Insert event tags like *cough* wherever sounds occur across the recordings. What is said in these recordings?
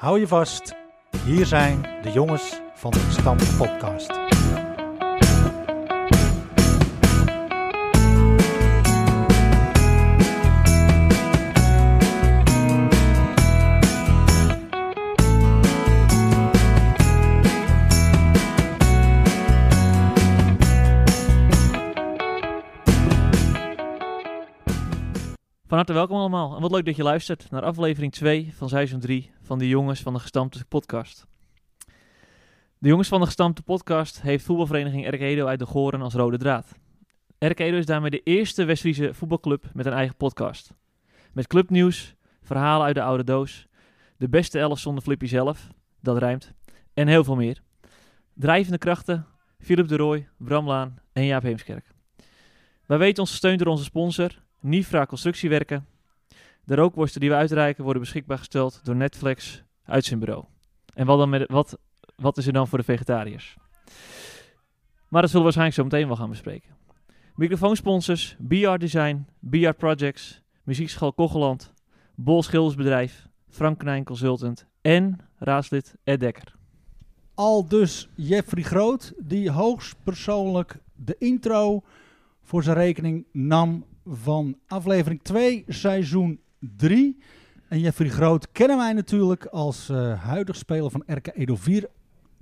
Hou je vast. Hier zijn de jongens van de Stam Podcast. Van harte welkom allemaal en wat leuk dat je luistert naar aflevering 2 van seizoen 3 van de Jongens van de Gestampte Podcast. De Jongens van de Gestampte Podcast heeft voetbalvereniging Erk Edo uit de Goren als rode draad. Erk Edo is daarmee de eerste Westfriese voetbalclub met een eigen podcast. Met clubnieuws, verhalen uit de oude doos, de beste elf zonder Flippy zelf, dat rijmt, en heel veel meer. Drijvende krachten, Philip de Rooij, Bram Laan en Jaap Heemskerk. Wij weten onze steun door onze sponsor, Nifra Constructiewerken. De rookworsten die we uitreiken worden beschikbaar gesteld door Netflix uit zijn bureau. En wat, dan met, wat, wat is er dan voor de vegetariërs? Maar dat zullen we waarschijnlijk zo meteen wel gaan bespreken. Microfoonsponsors, BR Design, BR Projects, Muziekschool Kocheland, Bol Schildersbedrijf, Frank Knijn Consultant en raadslid Ed Dekker. Al dus Jeffrey Groot, die hoogstpersoonlijk de intro voor zijn rekening nam van aflevering 2, seizoen 3. En Jeffrey Groot kennen wij natuurlijk als eh, huidig speler van RK Edo 4.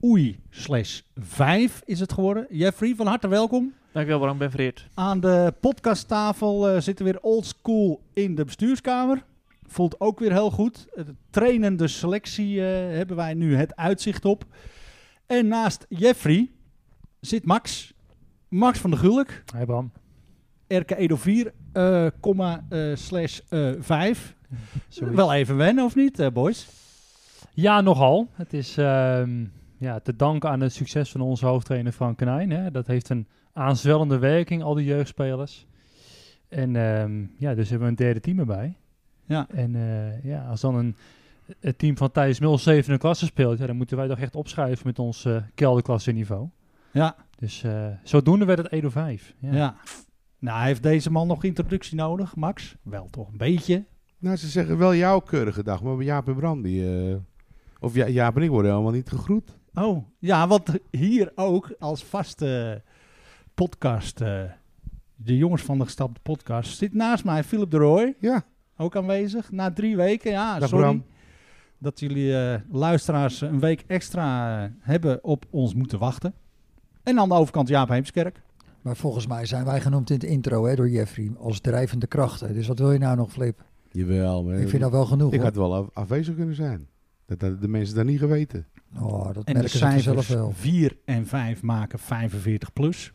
Oei, slash 5 is het geworden. Jeffrey, van harte welkom. Dankjewel Bram, ben vereerd. Aan de podcasttafel eh, zitten weer old school in de bestuurskamer. Voelt ook weer heel goed. De trainende selectie eh, hebben wij nu het uitzicht op. En naast Jeffrey zit Max. Max van de Gulik, Hey Bram. RK Edo 4, eh, comma, eh, slash eh, 5. Wel even wennen, of niet, eh, boys? Ja, nogal. Het is ehm, ja, te danken aan het succes van onze hoofdtrainer Frank Knijn. Hè. Dat heeft een aanzwellende werking, al die jeugdspelers. En ehm, ja, dus hebben we een derde team erbij. Ja. En eh, ja, als dan een, het team van Thijs Mul zevende klasse speelt, ja, dan moeten wij toch echt opschuiven met ons eh kelderklasse niveau. Ja. Dus eh, zodoende werd het Edo 5. Ja. Ja. Nou, heeft deze man nog introductie nodig, Max? Wel toch een beetje. Nou, ze zeggen wel jouw keurige dag, maar bij Jaap en Bram die... eh, of ja, Jaap en ik worden helemaal niet gegroet. Oh, ja, want hier ook als vaste podcast, eh, de jongens van de gestapte podcast, zit naast mij Philip de Rooij, Ja, ook aanwezig. Na drie weken, ja, Dag, sorry Bram. dat jullie eh, luisteraars een week extra eh, hebben op ons moeten wachten. En aan de overkant Jaap Heemskerk. Maar volgens mij zijn wij genoemd in het intro hè, door Jeffrey als drijvende krachten. Dus wat wil je nou nog, Flip? jawel. Maar, ik vind dat wel genoeg. ik hoor. had wel af- afwezig kunnen zijn. Dat hadden de mensen daar niet geweten. Oh, dat En de merken ze zelf cijfers wel. 4 en 5 maken 45 plus.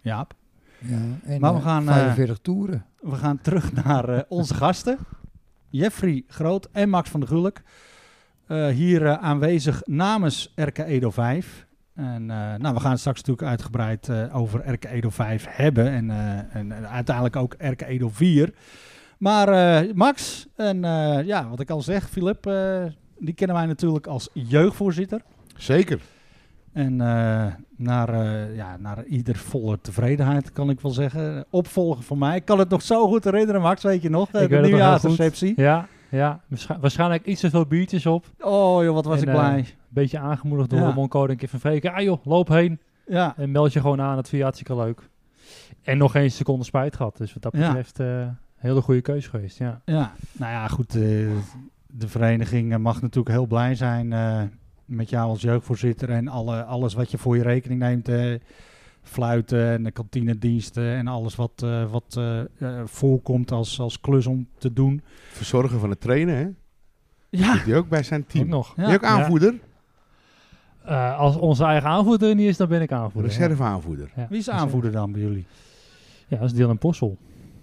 Jaap. Ja, en, Maar we eh, gaan, eh, 45 toeren. We gaan terug naar eh, onze gasten. Jeffrey Groot en Max van der Gulik. Eh, hier eh, aanwezig namens RK Edo 5. En eh, nou, we gaan het straks natuurlijk uitgebreid eh, over RK Edo 5 hebben. En, eh, en, en uiteindelijk ook RK Edo 4. Maar eh, Max, en eh, ja, wat ik al zeg, Filip, eh, die kennen wij natuurlijk als jeugdvoorzitter. Zeker. En eh, naar, eh, ja, naar ieder volle tevredenheid kan ik wel zeggen. Opvolger van mij. Ik kan het nog zo goed herinneren, Max, weet je nog? Eh, Ik de weet het nog heel goed. nieuwjaarsreceptie. Ja, ja. Waarsch- waarschijnlijk iets te veel biertjes op. Oh joh, wat was En, ik eh, blij. Beetje aangemoedigd door Ja. Ramon Code en Kip van Vreken. Ah joh, loop heen. ja. En meld je gewoon aan, het vind je hartstikke leuk. En nog geen seconde spijt gehad. Dus wat dat Ja. betreft, eh een hele goede keuze geweest. Ja. ja, nou ja, goed. eh, de vereniging eh, mag natuurlijk heel blij zijn eh, met jou als jeugdvoorzitter. En alle, alles wat je voor je rekening neemt. eh, fluiten en de kantinediensten en alles wat, eh, wat eh, eh, voorkomt als, als klus om te doen. Verzorgen van het trainen, hè. Ja, Die ook bij zijn team. Ook nog. Die ook Ja. aanvoerder. Eh, als onze eigen aanvoerder er niet is, dan ben ik aanvoerder. Reserveaanvoerder. Ja. Ja. wie is de aanvoerder dan bij jullie? Ja, dat is Dylan Possel.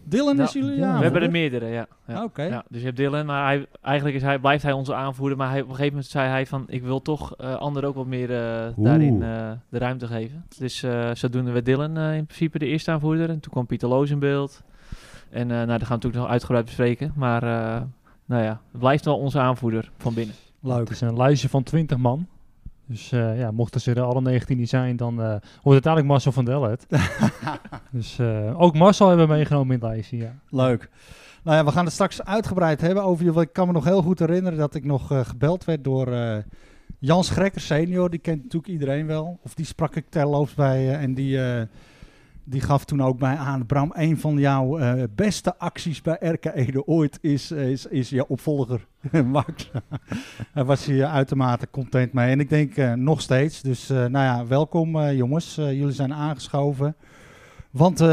Dylan Nou, is jullie Dylan. ja. We hebben er hoor. meerdere, ja. ja. Ah, Oké. Ja, dus je hebt Dylan, maar hij, eigenlijk is hij, blijft hij onze aanvoerder. Maar hij, op een gegeven moment zei hij van, ik wil toch eh anderen ook wat meer eh, Oeh. daarin eh, de ruimte geven. Dus eh, zodoende werd Dylan eh, in principe de eerste aanvoerder. En toen kwam Pieter Loos in beeld. En eh nou, dat gaan we natuurlijk nog uitgebreid bespreken. Maar eh, nou ja, het blijft wel onze aanvoerder van binnen. Leuk. Het is een lijstje van 20 man. Dus eh, ja, mochten ze er alle 19 niet zijn, dan eh, wordt uiteindelijk Marcel van Del *laughs* het. dus eh, ook Marcel hebben we meegenomen in het lijstje, ja. Leuk. Nou ja, we gaan het straks uitgebreid hebben over je. want Ik kan me nog heel goed herinneren dat ik nog eh, gebeld werd door eh, Jans Grekker senior. Die kent natuurlijk iedereen wel. Of die sprak ik terloops bij. eh, en die, eh, die gaf toen ook mij aan, Bram, een van jouw eh, beste acties bij RK Ede ooit is, eh, is, is jouw opvolger, *laughs* Max. Daar was hij eh, uitermate content mee. En ik denk eh, nog steeds. Dus eh, nou ja, welkom eh, jongens. Eh, jullie zijn aangeschoven. Want... eh,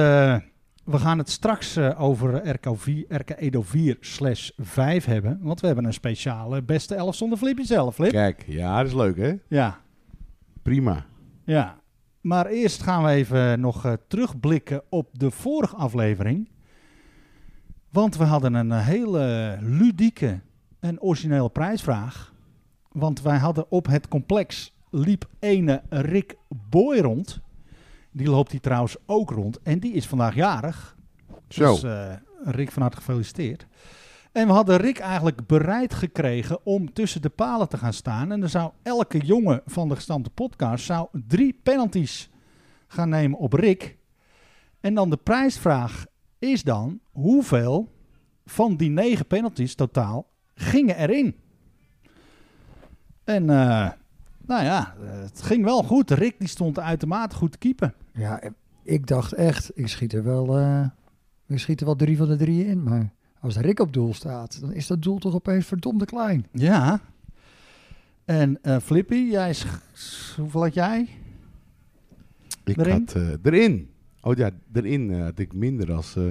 we gaan het straks eh, over RKV, RK Edo 4 slash 5 hebben. Want we hebben een speciale beste elf zonder Flip zelf, Flip. Kijk, ja, dat is leuk, hè? Ja, Prima. ja. Maar eerst gaan we even nog eh, terugblikken op de vorige aflevering. Want we hadden een eh, hele ludieke en originele prijsvraag. Want wij hadden op het complex liep ene Rick Boy rond. Die loopt hier trouwens ook rond. En die is vandaag jarig. Zo. Dus eh, Rick van harte gefeliciteerd. En we hadden Rick eigenlijk bereid gekregen om tussen de palen te gaan staan. En dan zou elke jongen van de gestampte podcast zou drie penalties gaan nemen op Rick. En dan de prijsvraag is dan hoeveel van die negen penalties totaal gingen erin? En eh, nou ja, eh, het ging wel goed. Rick die stond uitermate goed te keeper. Ja, eh, ik dacht echt, ik schiet er wel, eh, ik schiet er wel drie van de drie in. Maar als Rick op doel staat, dan is dat doel toch opeens verdomde klein. Ja. En eh, Flippy, jij sch- hoeveel had jij? Ik Erin? had eh, erin. Oh ja, erin eh, had ik minder als eh,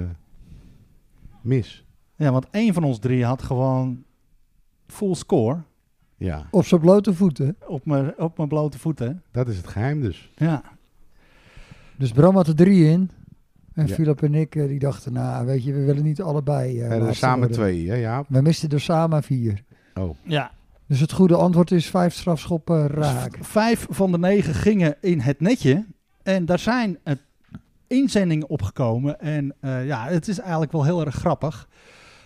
mis. Ja, want één van ons drie had gewoon full score Ja, Op zijn blote voeten. op mijn, op mijn blote voeten. dat is het geheim dus. Ja. Dus Bram had er drie in. En Ja. Philip en ik, eh, die dachten, nou weet je, we willen niet allebei. eh, Ja, er laatste samen worden. twee, Oh. hè Jaap? We misten er samen vier. ja. Dus het goede antwoord is vijf strafschoppen raak. Vijf van de negen gingen in het netje. En daar zijn eh, inzendingen opgekomen. En eh, ja, het is eigenlijk wel heel erg grappig.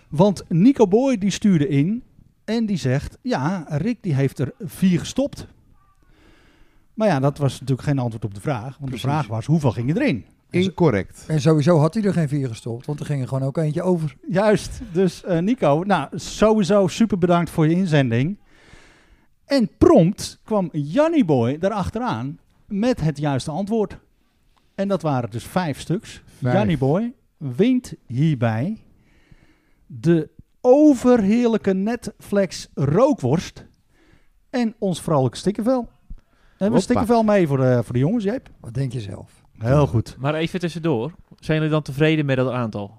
Want Nico Boy die stuurde in en die zegt... Ja, Rick die heeft er vier gestopt. Maar ja, dat was natuurlijk geen antwoord op de vraag. Want Precies. de vraag was, hoeveel ging erin? Incorrect. En sowieso had hij er geen vier gestopt, want er ging er gewoon ook eentje over. Juist, dus eh, Nico, nou sowieso super bedankt voor je inzending. En prompt kwam Janny Boy daarachteraan met het juiste antwoord. En dat waren dus vijf stuks. Vijf. Janny Boy wint hierbij de overheerlijke Netflix rookworst en ons vrolijk stikkenvel. En we Hoppa. stikkenvel mee voor de, voor de jongens, Jeep. Wat denk je zelf? Heel goed. Maar even tussendoor. Zijn jullie dan tevreden met dat aantal?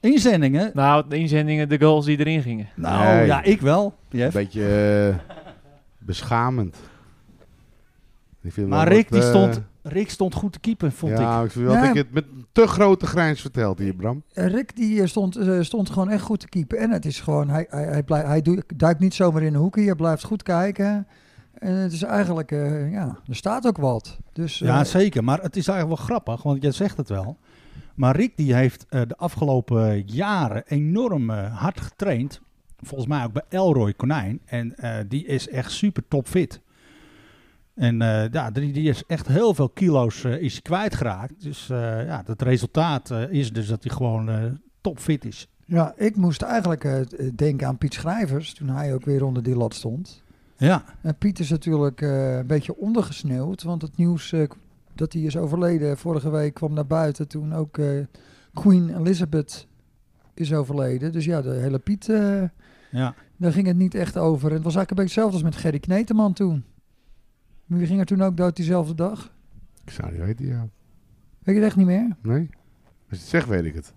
Inzendingen? Nou, de inzendingen, de goals die erin gingen. Nou Nee. ja, ik wel. Jeff. Een beetje eh, beschamend. Ik vind Maar wel Rick, wat, die eh, stond, Rick stond goed te keeper, vond ik. ja, ik. vind wel dat Ja. ik het met een te grote grijns verteld hier, Bram. Eh, Rick die eh, stond, eh, stond gewoon echt goed te keepen. En het is gewoon, hij, hij, hij, blij- hij doe- duikt niet zomaar in de hoeken. Hij blijft goed kijken. En het is eigenlijk, eh, ja, er staat ook wat. Dus eh, Ja, zeker. Maar het is eigenlijk wel grappig, want jij zegt het wel. Maar Rick die heeft eh, de afgelopen jaren enorm eh, hard getraind. Volgens mij ook bij Elroy Konijn. En eh, die is echt super topfit. En eh, ja, die, die is echt heel veel kilo's eh, is hij kwijtgeraakt. Dus eh, ja, dat resultaat eh, is dus dat hij gewoon eh, topfit is. ja, ik moest eigenlijk eh, eh, denken aan Piet Schrijvers toen hij ook weer onder die lat stond. Ja, En Piet is natuurlijk eh, een beetje ondergesneeuwd, want het nieuws eh, k- dat hij is overleden vorige week kwam naar buiten toen ook eh, Queen Elizabeth is overleden. Dus ja, de hele Piet, eh, ja. daar ging het niet echt over. En het was eigenlijk een beetje hetzelfde als met Gerry Kneteman toen. Wie ging er toen ook dood diezelfde dag? Ik zou niet weten, ja. Weet je het echt niet meer? Nee? Als je het zegt, weet ik het.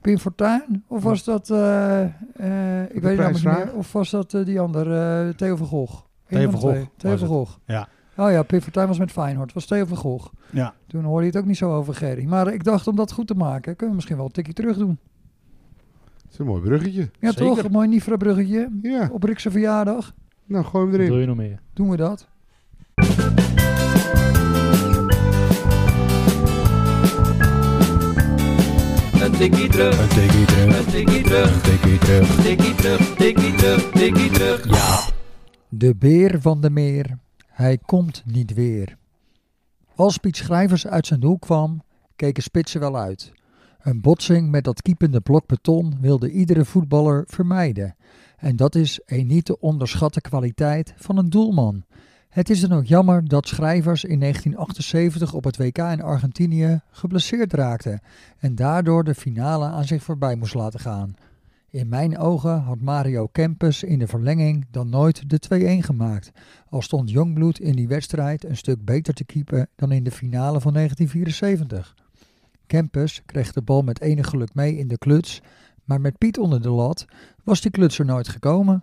Pim Fortuyn? Of was dat, eh, eh, ik weet het namelijk niet prijsvraag? meer, of was dat eh, die ander, eh, Theo van Gogh? Eén Theo van van de twee. Gogh Theo was van het. Gogh. Ja. Oh ja, Pim Fortuyn was met Feyenoord. Het was Theo van Gogh. ja. Toen hoorde je het ook niet zo over Gerry. Maar ik dacht, om dat goed te maken, kunnen we misschien wel een tikje terug doen. Het is een mooi bruggetje. Ja, Zeker. toch? Een mooi Nifra-bruggetje. Ja, Op Rikse verjaardag nou gooi hem Wat wil erin. je nog meer? doen we dat. De beer van de meer Hij komt niet weer. Als Piet Schrijvers uit zijn doel kwam, keken spitsen wel uit. Een botsing met dat kiepende blok beton wilde iedere voetballer vermijden. En dat is een niet te onderschatten kwaliteit van een doelman. Het is dan ook jammer dat Schrijvers in 1978 op het WK in Argentinië geblesseerd raakte en daardoor de finale aan zich voorbij moest laten gaan. In mijn ogen had Mario Kempes in de verlenging dan nooit de 2-1 gemaakt, al stond Jongbloed in die wedstrijd een stuk beter te keepen dan in de finale van 1974. Kempes kreeg de bal met enig geluk mee in de kluts, maar met Piet onder de lat was die kluts er nooit gekomen.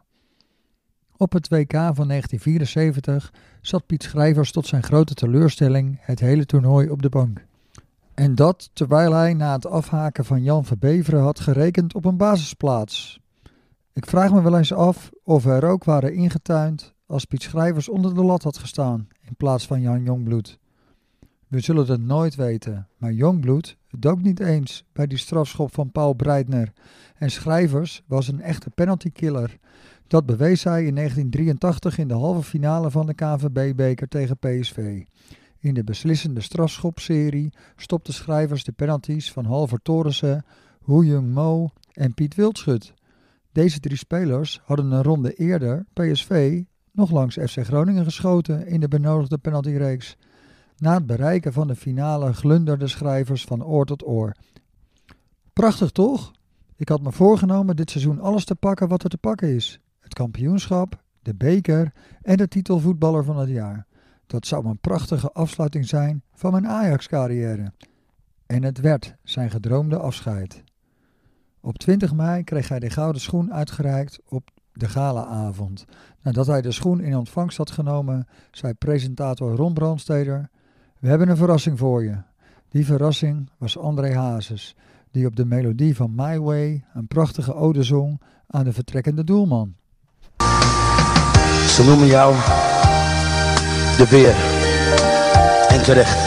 Op het WK van 1974 zat Piet Schrijvers tot zijn grote teleurstelling het hele toernooi op de bank. En dat terwijl hij na het afhaken van Jan Verbeveren had gerekend op een basisplaats. Ik vraag me wel eens af of we er ook waren ingetuind als Piet Schrijvers onder de lat had gestaan in plaats van Jan Jongbloed. We zullen het nooit weten, maar Jongbloed dook niet eens bij die strafschop van Paul Breitner. En Schrijvers was een echte penaltykiller. Dat bewees hij in 1983 in de halve finale van de KVB-beker tegen PSV. In de beslissende strafschopserie stopte Schrijvers de penalties van Halver Torensen, Hu Jung Mo en Piet Wildschut. Deze drie spelers hadden een ronde eerder PSV nog langs FC Groningen geschoten in de benodigde penaltyreeks. Na het bereiken van de finale glunderden schrijvers van oor tot oor. Prachtig toch? Ik had me voorgenomen dit seizoen alles te pakken wat er te pakken is: het kampioenschap, de beker en de titel voetballer van het jaar. Dat zou een prachtige afsluiting zijn van mijn Ajax-carrière. En het werd zijn gedroomde afscheid. Op 20 mei kreeg hij de gouden schoen uitgereikt op de galaavond. Nadat hij de schoen in ontvangst had genomen, zei presentator Ron Brandsteder: we hebben een verrassing voor je. Die verrassing was André Hazes, die op de melodie van My Way een prachtige ode zong aan de vertrekkende doelman. Ze noemen jou de beer. En terecht.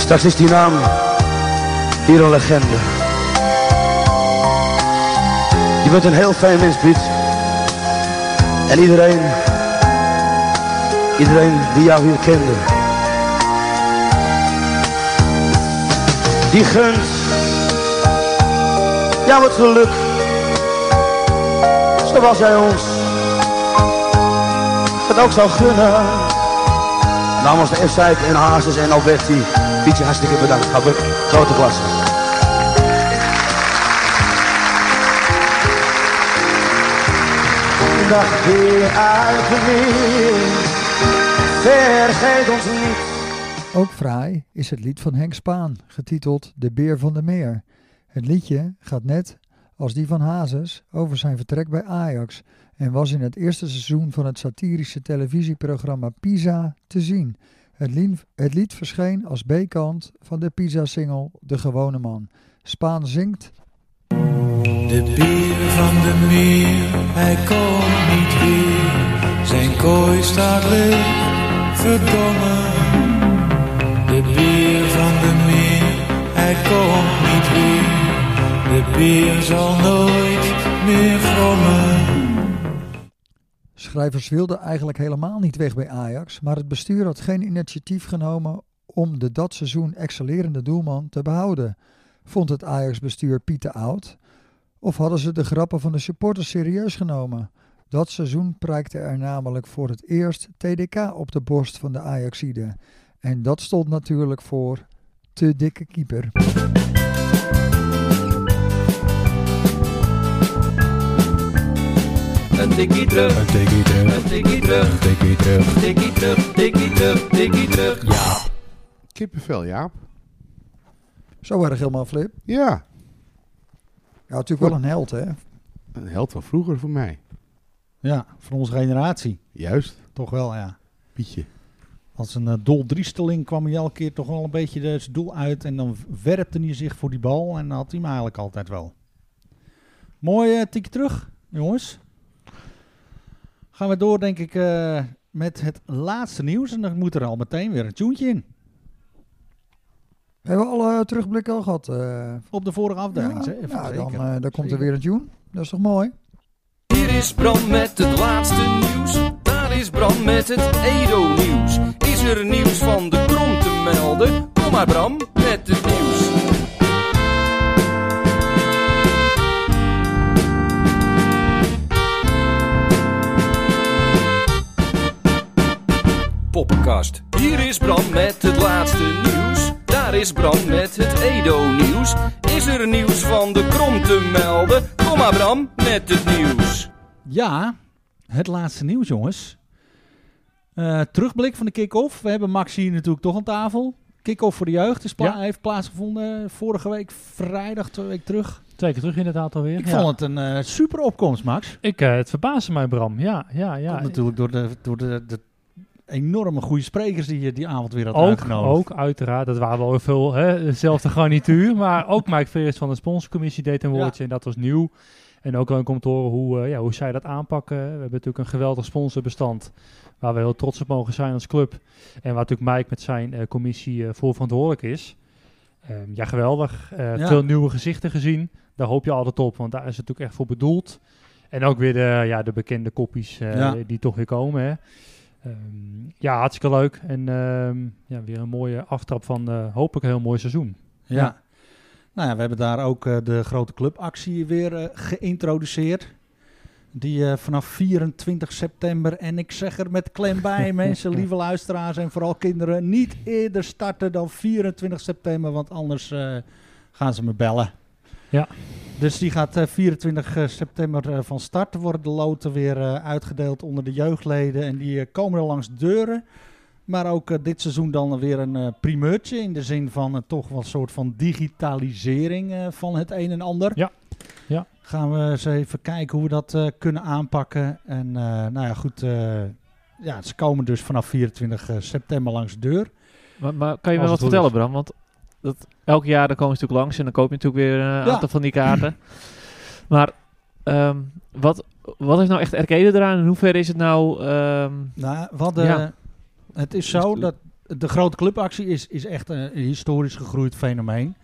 Straks is die naam hier een legende. Je bent een heel fijn mens, Piet. En iedereen, iedereen die jou hier kende, die gunt jou het geluk. Zoals jij ons het ook zou gunnen. Namens de f en Hazes en Alberti, Pietje, hartstikke bedankt. Habuk, grote klasse. Dag weer uit de weer, vergeet ons niet. Ook fraai is het lied van Henk Spaan, getiteld De Beer van de Meer. Het liedje gaat net als die van Hazes over zijn vertrek bij Ajax en was in het eerste seizoen van het satirische televisieprogramma Pisa te zien. Het lied, het lied verscheen als B-kant van de Pisa-single De Gewone Man. Spaan zingt De bier van de meer, hij komt niet weer. Zijn kooi staat leeg, verdomme. De bier van de meer, hij komt niet weer. De bier zal nooit meer grommen. Schrijvers wilden eigenlijk helemaal niet weg bij Ajax, maar het bestuur had geen initiatief genomen om de dat seizoen excellerende doelman te behouden. Vond het Ajax-bestuur Piet te oud? Of hadden ze de grappen van de supporters serieus genomen? Dat seizoen prijkte er namelijk voor het eerst TDK op de borst van de Ajaxide. En dat stond natuurlijk voor te dikke keeper. Een tikkie terug, Een tikkie terug, een tikkie terug, een tikkie terug. tikkie terug, tikkie terug, tikkie terug. Kippenvel, Jaap. Zo erg helemaal flip. Ja, Ja, natuurlijk wel een held, hè? een held van vroeger voor mij. Ja, van onze generatie. Juist, Toch wel, ja. Pietje. Als een eh, doldriesteling kwam hij elke keer toch wel een beetje de- zijn doel uit. En dan werpte hij zich voor die bal. En dan had hij hem eigenlijk altijd wel. Mooi eh, tikje terug, jongens. Gaan we door, denk ik, eh, met het laatste nieuws. En dan moet er al meteen weer een tuintje in. Hebben we alle terugblikken al gehad? eh? Op de vorige afdeling. ja, hè? Even ja, dan, zeker. eh, dan komt er Zeker. weer een tune. Dat is toch mooi? Hier is Bram met het laatste nieuws. Daar is Bram met het Edo-nieuws. Is er nieuws van de krom te melden? Kom maar Bram met het nieuws. Poppenkast. Hier is Bram met het laatste nieuws. Daar is Bram met het Edo-nieuws. Is er nieuws van de krom te melden? Kom maar Bram met het nieuws. Ja, het laatste nieuws, jongens. Eh, terugblik van de kick-off. We hebben Max hier natuurlijk toch aan tafel. Kick-off voor de jeugd is pla- Ja. heeft plaatsgevonden vorige week vrijdag, twee weken terug. Twee keer terug inderdaad alweer. Ik ja. vond het een eh, super opkomst, Max. ik, eh, het verbaasde mij, Bram. Ja, ja, Ja, ja. natuurlijk door, de, door de, de enorme goede sprekers die je die avond weer had Ook, uitgenodigd. ook, uiteraard. Dat waren wel veel, hè, dezelfde *laughs* garnituur. Maar ook Mike Veres van de sponsorcommissie deed een Ja. woordje en dat was nieuw. En ook leuk om te horen hoe, eh, ja, hoe zij dat aanpakken. We hebben natuurlijk een geweldig sponsorbestand waar we heel trots op mogen zijn als club. En waar natuurlijk Mike met zijn eh, commissie eh, voor verantwoordelijk is. Ehm, ja, geweldig. Eh, Ja. Veel nieuwe gezichten gezien. Daar hoop je altijd op, want daar is het natuurlijk echt voor bedoeld. En ook weer de, ja, de bekende koppies eh, Ja. die toch weer komen. Hè. Ehm, ja, hartstikke leuk. En ehm, ja, weer een mooie aftrap van eh, hopelijk een heel mooi seizoen. Ja. Nou ja, we hebben daar ook eh, de grote clubactie weer eh, geïntroduceerd. Die eh, vanaf 24 september, en ik zeg er met klem bij, mensen, lieve luisteraars en vooral kinderen, niet eerder starten dan 24 september, want anders eh, gaan ze me bellen. Ja. Dus die gaat eh, 24 september eh, van start. Er worden de loten weer eh, uitgedeeld onder de jeugdleden en die eh, komen er langs de deuren. Maar ook eh, dit seizoen dan weer een eh, primeurtje. In de zin van eh, toch wel een soort van digitalisering eh, van het een en ander. Ja. Ja. Gaan we eens even kijken hoe we dat eh, kunnen aanpakken. En eh, nou ja, goed. eh, ja, ze komen dus vanaf 24 september langs de deur. Maar, maar kan je me wat Als het goed vertellen, Bram? Want dat, elk jaar dan komen ze natuurlijk langs en dan koop je natuurlijk weer eh, een aantal van die kaarten. *clears throat* maar ehm, wat, wat heeft nou echt Arcade eraan en in hoeverre is het nou... ehm, Nou, we hadden- Ja. Het is zo dat de grote clubactie is, is echt een historisch gegroeid fenomeen.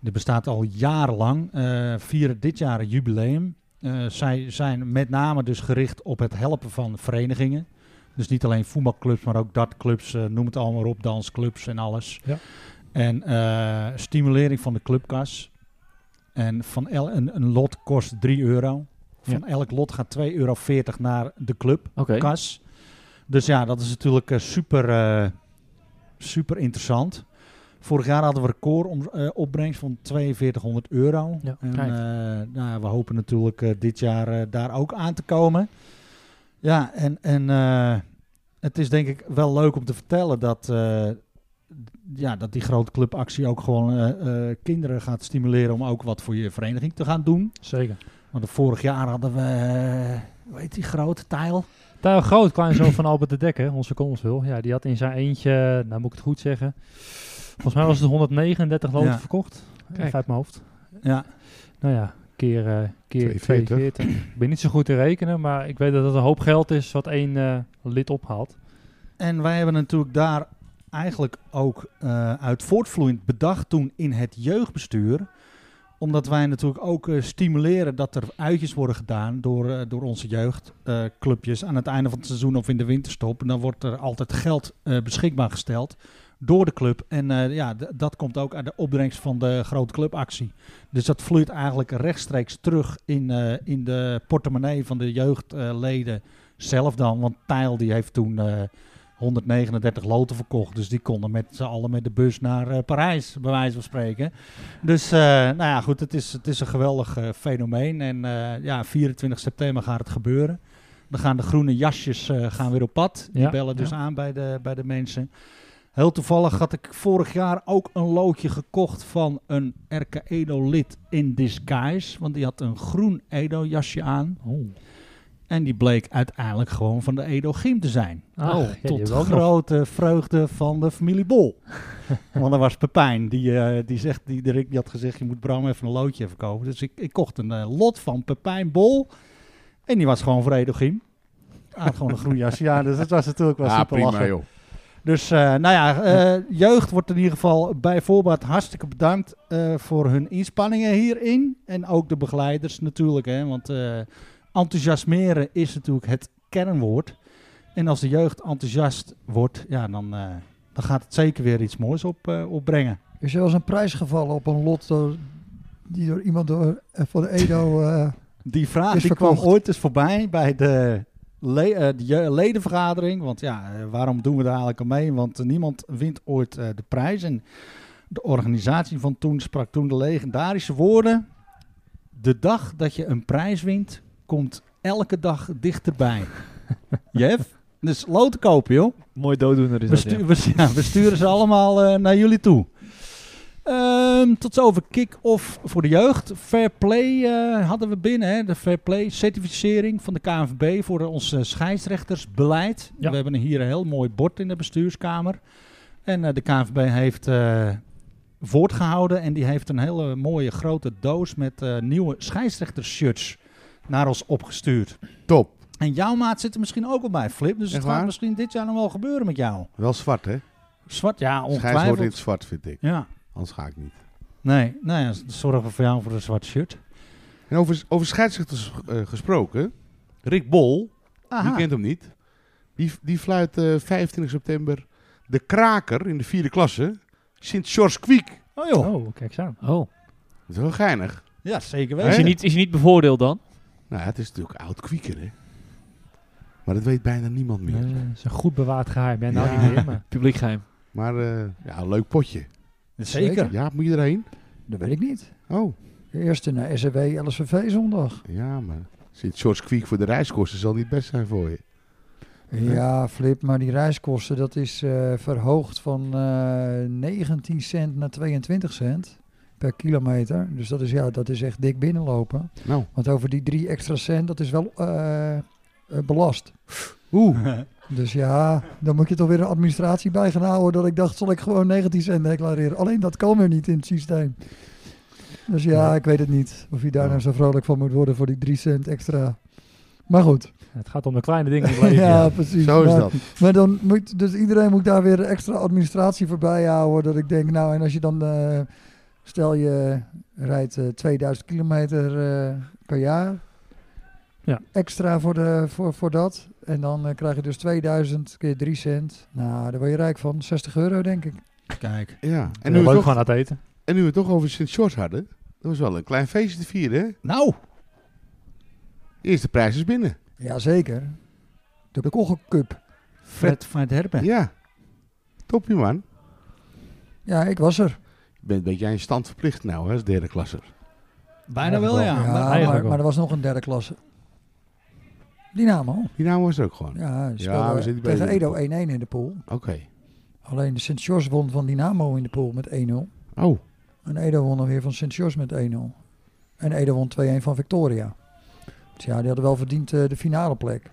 Dit bestaat al jarenlang. eh vieren dit jaar een jubileum. Eh, zij zijn met name dus gericht op het helpen van verenigingen. Dus niet alleen voetbalclubs, maar ook dartclubs, eh, noem het allemaal op, dansclubs en alles. Ja. En eh, stimulering van de clubkas. En van el- een, een lot kost 3 euro. Van elk lot gaat 2,40 euro naar de club Oké, kas. Dus ja, dat is natuurlijk eh, super, eh, super interessant. Vorig jaar hadden we record om, eh, opbrengst van 4200 euro. Ja, en, kijk. eh, nou, ja, we hopen natuurlijk eh, dit jaar eh, daar ook aan te komen. Ja, en, en eh, het is denk ik wel leuk om te vertellen dat, eh, ja, dat die grote clubactie ook gewoon eh, eh, kinderen gaat stimuleren om ook wat voor je vereniging te gaan doen. Zeker. Want vorig jaar hadden we, eh, hoe heet die grote tijl? Tijl Groot, kleinzoon van Albert de Dekker, onze consul. Ja, die had in zijn eentje, nou moet ik het goed zeggen. Volgens mij was het 139 loten Ja. verkocht. Kijk. Even uit mijn hoofd. Ja, Nou ja, keer, eh keer 42. 42. Ik ben niet zo goed te rekenen, maar ik weet dat het een hoop geld is wat één eh, lid ophaalt. En wij hebben natuurlijk daar eigenlijk ook eh, uit voortvloeiend bedacht toen in het jeugdbestuur. Omdat wij natuurlijk ook eh, stimuleren dat er uitjes worden gedaan door, eh, door onze jeugdclubjes aan het einde van het seizoen of in de winterstop. En dan wordt er altijd geld eh, beschikbaar gesteld door de club. En eh, ja, d- dat komt ook uit de opbrengst van de grote clubactie. Dus dat vloeit eigenlijk rechtstreeks terug in, eh, in de portemonnee van de jeugdleden zelf dan. Want Tijl die heeft toen... eh, 139 loten verkocht. Dus die konden met z'n allen met de bus naar eh, Parijs, bij wijze van spreken. Dus eh, nou ja, goed, het is, het is een geweldig eh, fenomeen. En eh, ja, 24 september gaat het gebeuren. Dan gaan de groene jasjes eh, gaan weer op pad. Die Ja, bellen dus aan bij de, bij de mensen. Heel toevallig had ik vorig jaar ook een loodje gekocht van een E RK Edo-lid in disguise. Want die had een groen E Edo-jasje aan. En die bleek uiteindelijk gewoon van de Edo-gym te zijn. Ach, ja, die Oh, Tot hebben we ook nog. grote vreugde van de familie *laughs* Bol. Want dat was Pepijn. Die, eh, die, zegt, die, de Rick die had gezegd, je moet Bram even een loodje even kopen. Dus ik, ik kocht een eh, lot van Pepijn Bol. En die was gewoon voor Edogiem. Hij had gewoon *laughs* een groen jasje. Ja, dus dat was natuurlijk wel Ah, super prima lachen. joh. Dus eh, nou ja, eh, jeugd wordt in ieder geval bij voorbaat hartstikke bedankt eh, voor hun inspanningen hierin. En ook de begeleiders natuurlijk, hè, want eh, enthousiasmeren is natuurlijk het kernwoord. En als de jeugd enthousiast wordt, ja, dan, eh, dan gaat het zeker weer iets moois op, eh, opbrengen. Is er wel eens een prijs gevallen op een lot door, die door iemand door, eh, van de Edo... *laughs* eh, Die vraag Is die kwam verkocht. ooit eens voorbij bij de, le- eh, de je- ledenvergadering. Want ja, eh, waarom doen we daar eigenlijk aan mee? Want eh, niemand wint ooit eh, de prijs. En de organisatie van toen sprak toen de legendarische woorden. De dag dat je een prijs wint, komt elke dag *laughs* dichterbij. Jeff, dus lood kopen joh. Mooi dooddoener is We, dat, ja. stu- we stu- ja, we sturen ze allemaal eh, naar jullie toe. Ehm, tot zover kick-off voor de jeugd. Fair play eh, hadden we binnen. Hè? De fair play certificering van de KNVB voor ons eh, scheidsrechtersbeleid. Ja. We hebben hier een heel mooi bord in de bestuurskamer. En eh, de KNVB heeft eh, voortgehouden. En die heeft een hele mooie grote doos met eh, nieuwe scheidsrechtershirts naar ons opgestuurd. Top. En jouw maat zit er misschien ook al bij, Flip. Dus Echt het gaat waar? misschien dit jaar nog wel gebeuren met jou. Wel zwart, hè? Zwart, ja, Schijs wordt in het ongetwijfeld. zwart, vind ik. Ja, Anders ga ik niet. nee, nou ja, zorgen we voor jou voor een zwart shirt. En over, over scheidsrechters eh, gesproken. Rick Bol, je Aha, kent hem niet. Die, die fluit eh 25 september de kraker in de vierde klasse. Sint-Georges Kwiek. oh joh. Oh, kijk eens aan. Oh. Dat is wel geinig. Ja, zeker Is weten. hij, niet, is hij niet bevoordeeld dan? Nou, ja, het is natuurlijk oud kwieker, hè? Maar dat weet bijna niemand meer. Ja, dat is een goed bewaard geheim. Ja, nou Ja. niet meer, maar... Publiek geheim. Maar eh, ja, leuk potje. Zeker. Ja, moet je erheen? dat weet ik niet. Oh, De eerste naar SRW LSVV zondag. ja, maar Sint-Georges Kwiek voor de reiskosten zal niet best zijn voor je. Ja, Flip, maar die reiskosten, dat is eh, verhoogd van eh, 19 cent naar 22 cent per kilometer. Dus dat is, ja, dat is echt dik binnenlopen. Nou, Want over die drie extra cent, dat is wel eh, eh, belast. Oeh. Dus ja, dan moet je toch weer een administratie bij gaan houden. Dat ik dacht, zal ik gewoon 19 cent declareren. Alleen dat kan weer niet in het systeem. Dus ja, ik weet het niet. Of je daar nou zo vrolijk van moet worden voor die 3 cent extra. Maar goed. Het gaat om de kleine dingen in het *laughs* Ja, leven. ja. precies. zo is Maar- dat. Maar dan moet, dus iedereen moet daar weer extra administratie voor bijhouden. Dat ik denk, nou, en als je dan, eh, stel je rijdt eh, 2000 kilometer eh, per jaar. Ja. Extra voor, de, voor, voor dat. En dan eh, krijg je dus 2000 keer 3 cent. Nou, daar word je rijk van. 60 euro, denk ik. *laughs* Kijk. Ja. En, En nu leuk we toch, gewoon uit eten. en nu we het toch over Sint-Georges hadden. Dat was wel een klein feestje te vieren, hè? Nou, De eerste prijs is binnen. Jazeker. De Koggelcup. Fred van het Herpen. Ja. Toppie, man. Ja, ik was er. Ben, ben jij een stand verplicht nou, hè, als derde klasser? Bijna wel, wel. ja. Maar- Ja, eigenlijk maar, wel. maar er was nog een derde klasse. Dynamo. Die naam was er ook gewoon. Ja, ze Ja, we speelden zitten bij tegen de- Edo 1-1 in de pool. Oké. Alleen de Sint-George won van Dynamo in de pool met 1-0. Oh, En Edo won dan weer van Sint-George met 1-0. En Edo won 2-1 van Victoria. Dus ja, die hadden wel verdiend eh, de finale plek.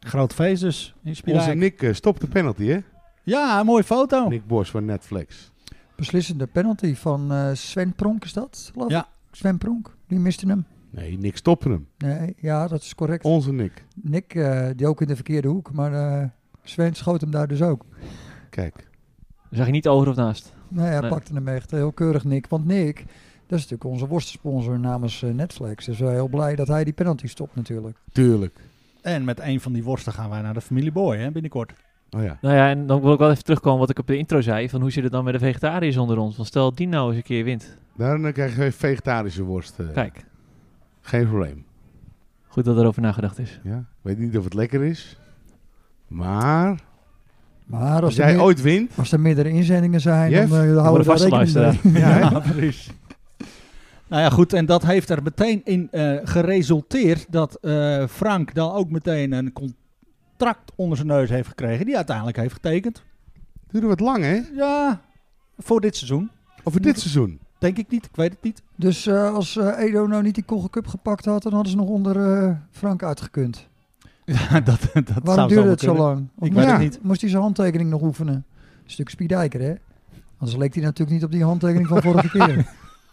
Groot feest dus. in Spierdijk. onze Nick eh, stopt de penalty, hè? Ja, een mooie foto. Nick Bos van Netflix. Beslissende penalty van eh, Sven Pronk is dat? geloof ik? Ja. Sven Pronk, die miste hem. Nee, Nick stopte hem. Nee, ja, dat is correct. Onze Nick. Nick, eh, die ook in de verkeerde hoek, maar eh, Sven schoot hem daar dus ook. Kijk. Zag je niet over of naast? Nee, hij Nee. pakte hem echt eh, heel keurig, Nick. Want Nick, dat is natuurlijk onze worstensponsor namens eh, Netflix. Dus we zijn heel blij dat hij die penalty stopt natuurlijk. Tuurlijk. En met een van die worsten gaan wij naar de familie Boy hè, binnenkort. Oh ja. Nou ja, en dan wil ik wel even terugkomen wat ik op de intro zei. Van hoe zit het dan met de vegetariërs onder ons? Want stel die nou eens een keer wint. Daarna krijg je vegetarische worst. eh, Kijk, Geen probleem. goed dat erover nagedacht is. Ja. Ik Weet niet of het lekker is. Maar Maar als als, jij de- ooit wint, *laughs* Als er meerdere inzendingen zijn, Jeff, dan eh, houden worden we daar vaste rekening mee. Ja, hè? precies. Nou ja, goed. En dat heeft er meteen in eh, geresulteerd dat eh, Frank dan ook meteen een contract onder zijn neus heeft gekregen. Die uiteindelijk heeft getekend. duurde wat lang, hè? Ja, voor dit seizoen. Over dit seizoen. Denk ik niet, ik weet het niet. Dus eh, als eh, Edo nou niet die Kogel Cup gepakt had, dan hadden ze nog onder eh, Frank uitgekund. *laughs* Ja, dat, dat Waarom duurde het zo lang? Of Ik moest, weet het hij- niet. moest hij zijn handtekening nog oefenen? Stuk Spiedijker, hè? Anders leek hij natuurlijk niet op die handtekening van vorige keer.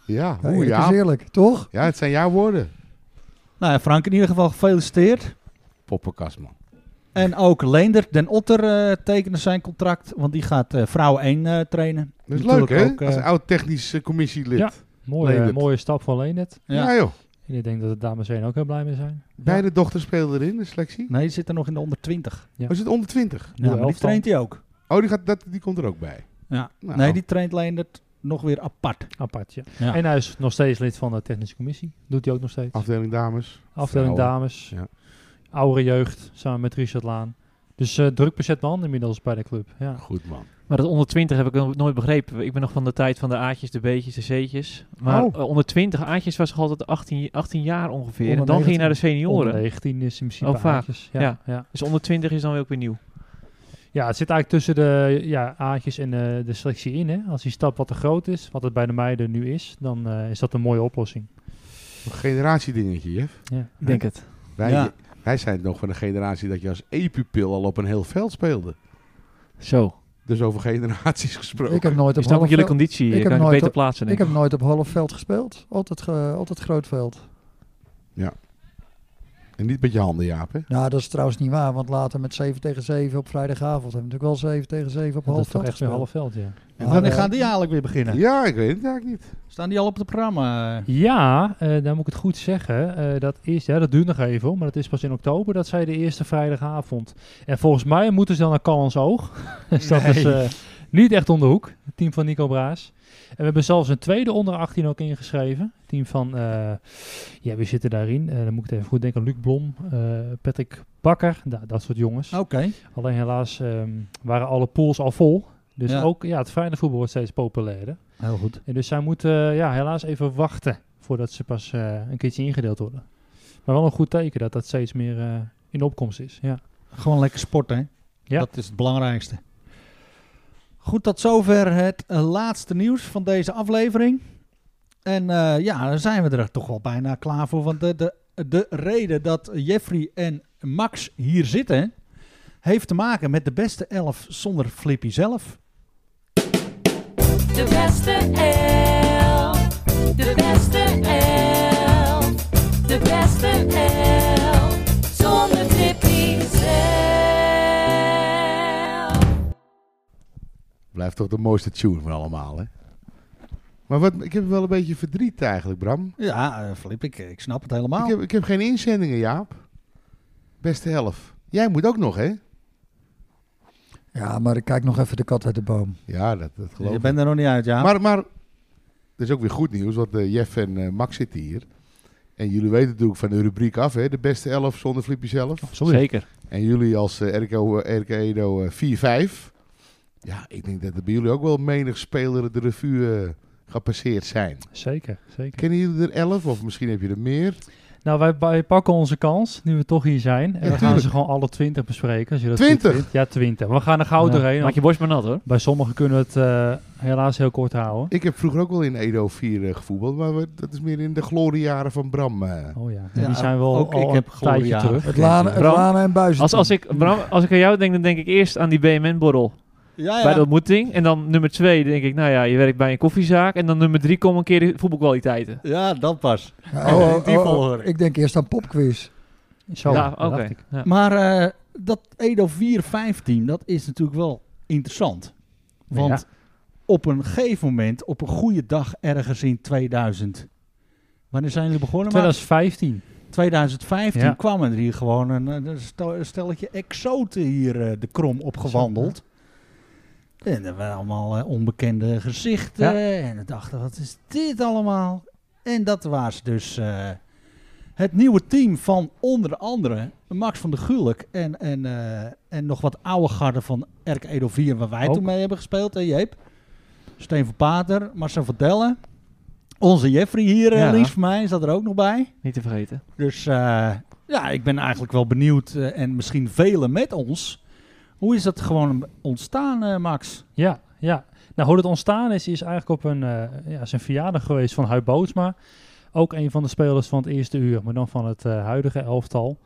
Ja, Ja, oeh, eerlijk is ja. eerlijk, toch? Ja, het zijn jouw woorden. Nou ja, Frank in ieder geval gefeliciteerd. Poppenkast, man. En ook Leender Den Otter eh, tekende zijn contract, want die gaat eh vrouw 1 eh, trainen. Dat is Natuurlijk leuk, hè? ook, eh, Als oud technisch eh, commissielid. Ja. Ja. Mooie, Leendert. mooie stap van Leenert. joh. Ik En ik denk dat de dames 1 ook heel blij mee zijn. Beide dochters spelen erin, de selectie. Nee, die zit er nog in de onder 20. Ja. Oh, zit onder 20. Ja, maar die elftal. traint hij ook. Oh, die, gaat, dat, die komt er ook bij. Ja. Nou. Nee, die traint Leendert nog weer apart. Apart, ja. Ja. En hij is nog steeds lid van de technische commissie. Doet hij ook nog steeds. Afdeling dames. Afdeling Vrouwen. dames. Ja. Oudere jeugd, samen met Richard Laan. Dus eh, druk bezet man inmiddels bij de club. Ja. Goed man. Maar dat onder 20 heb ik nog nooit begrepen. Ik ben nog van de tijd van de A'tjes, de B'tjes, de C'tjes. Maar Oh. eh, onder 20 A'tjes was toch altijd 18, 18 jaar ongeveer. en Onder dan ging je 19. naar de Onder senioren. 19 is in principe Oh, vaak. haakjes. Ja, ja. Ja. Ja. Dus onder 20 is dan weer ook weer nieuw. het zit eigenlijk tussen de ja, A'tjes en eh, de selectie in. Hè. Als die stap wat te groot is, wat het bij de meiden nu is, dan eh, is dat een mooie oplossing. Een generatiedingetje, Jeff. Ja. Ik denk het. Wij, Ja. wij zijn nog van de generatie dat je als e-pupil al op een heel veld speelde. Zo. Dus over generaties gesproken. Ik heb nooit op Dus dan moet half jullie veld, conditie. Ik Je heb kan je nooit beter op- plaatsen. ik Denk heb ik. nooit op half veld gespeeld. Altijd, ge- altijd groot veld. En niet met je handen, Jaap, hè? Nou, dat is trouwens niet waar. Want later met 7 tegen 7 op vrijdagavond hebben we natuurlijk wel 7 tegen 7 op Dat half is toch veld echt weer gespeeld. half veld, ja. En Maar, wanneer eh, gaan die eigenlijk weer beginnen? Ja, ik weet het eigenlijk niet. Staan die al op het programma? Ja, eh dan moet ik het goed zeggen. Eh, dat is, ja, dat duurt nog even, hoor, maar dat is pas in oktober. Dat zij de eerste vrijdagavond. En volgens mij moeten ze dan naar Callans Oog. *laughs* dus dat is eh, niet echt om de hoek. Het team van Nico Braas. En we hebben zelfs een tweede onder 18 ook ingeschreven. Het team van, eh, ja, wie zitten daarin? Eh, dan moet ik het even goed denken. Luc Blom, eh, Patrick Bakker, nou, dat soort jongens. Oké. Alleen helaas ehm, waren alle pools al vol. Dus Ja. ook ja, het vrijdagvoetbal wordt steeds populairder. Heel goed. En dus zij moeten eh, ja, helaas even wachten voordat ze pas eh, een keertje ingedeeld worden. Maar wel een goed teken dat dat steeds meer eh, in opkomst is. Ja. Gewoon lekker sporten, hè? Ja. Dat is het belangrijkste. Goed, tot zover het eh, laatste nieuws van deze aflevering. En eh, ja, dan zijn we er toch wel bijna klaar voor. Want de, de, de reden dat Jeffrey en Max hier zitten... heeft te maken met de beste elf zonder Flippy zelf. De beste elf. De beste elf. De beste elf. Zonder Tippy zelf. Blijft toch de mooiste tune van allemaal, hè? Maar wat, ik heb wel een beetje verdriet eigenlijk, Bram. Ja, eh, Flip, ik, ik snap het Ik helemaal. heb, ik heb geen inzendingen, Jaap. Beste helft. Jij moet ook nog, hè? Ja, maar ik kijk nog even de kat uit de boom. Ja, dat, dat geloof Je ik. bent er nog niet uit, ja. Maar, maar dat is ook weer goed nieuws, want eh, Jeff en eh, Max zitten hier. En jullie weten natuurlijk van de rubriek af, hè? De beste elf zonder Flippy zelf. Oh, Zeker. En jullie als eh, RKO, eh, RK Edo eh, 4-5. Ja, ik denk dat er bij jullie ook wel menig speler de revue eh, gepasseerd zijn. Zeker, zeker. Kennen jullie er 11 of misschien heb je er meer? Nou, wij, wij pakken onze kans, nu we toch hier zijn. En we gaan tuurlijk. ze gewoon alle 20 bespreken. Als je dat goed 20? vindt. Ja, 20. We gaan er gauw Ja. doorheen. Maak je borst maar nat hoor. Bij sommigen kunnen we het eh, helaas heel kort houden. Ik heb vroeger ook wel in Edo 4 eh, gevoetbald, maar we- dat is meer in de gloriejaren van Bram. eh. Oh ja, Ja, die zijn wel ook al ik een heb tijdje gloria. terug. Het lanen, het Bram, lanen en buizen. Als, als, ik, Bram, als ik aan jou denk, dan denk ik eerst aan die BMN-borrel ja, ja. bij de ontmoeting. En dan nummer twee denk ik, nou ja, je werkt bij een koffiezaak. En dan nummer drie kom een keer de voetbalkwaliteiten. ja, dat pas. Ja, oh, oh, Die oh, oh, volgorde. ik denk eerst aan popquiz. Zo, ja, Oh, dat oké. dacht ik. Ja. Maar eh, dat Edo 4-5 team, dat is natuurlijk wel interessant. Want op een gegeven moment, op een goede dag ergens in 2000... Wanneer zijn jullie begonnen? Maar 2015. 2015 Ja. kwam er hier gewoon een, eh, een stel- een stelletje exoten hier eh, de krom op gewandeld. En er waren allemaal eh, onbekende gezichten. En we dachten, wat is dit allemaal? En dat was dus eh, het nieuwe team van onder andere Max van der Gulik en, en, eh, en nog wat oude garden van Erk Edo 4 waar wij Ook. toen mee hebben gespeeld. Hè, Jeep? Steen van Pater, Marcel van Dellen. Onze Jeffrey hier, eh, Ja. links van mij, zat er ook nog bij. Niet te vergeten. Dus eh, ja, ik ben eigenlijk wel benieuwd, eh, en misschien velen met ons. Hoe is dat gewoon ontstaan, eh, Max? Ja, ja. Nou, hoe het ontstaan is, is eigenlijk op een, eh, ja, zijn verjaardag geweest van Huib Bootsma. Ook een van de spelers van het eerste uur, maar dan van het eh, huidige elftal.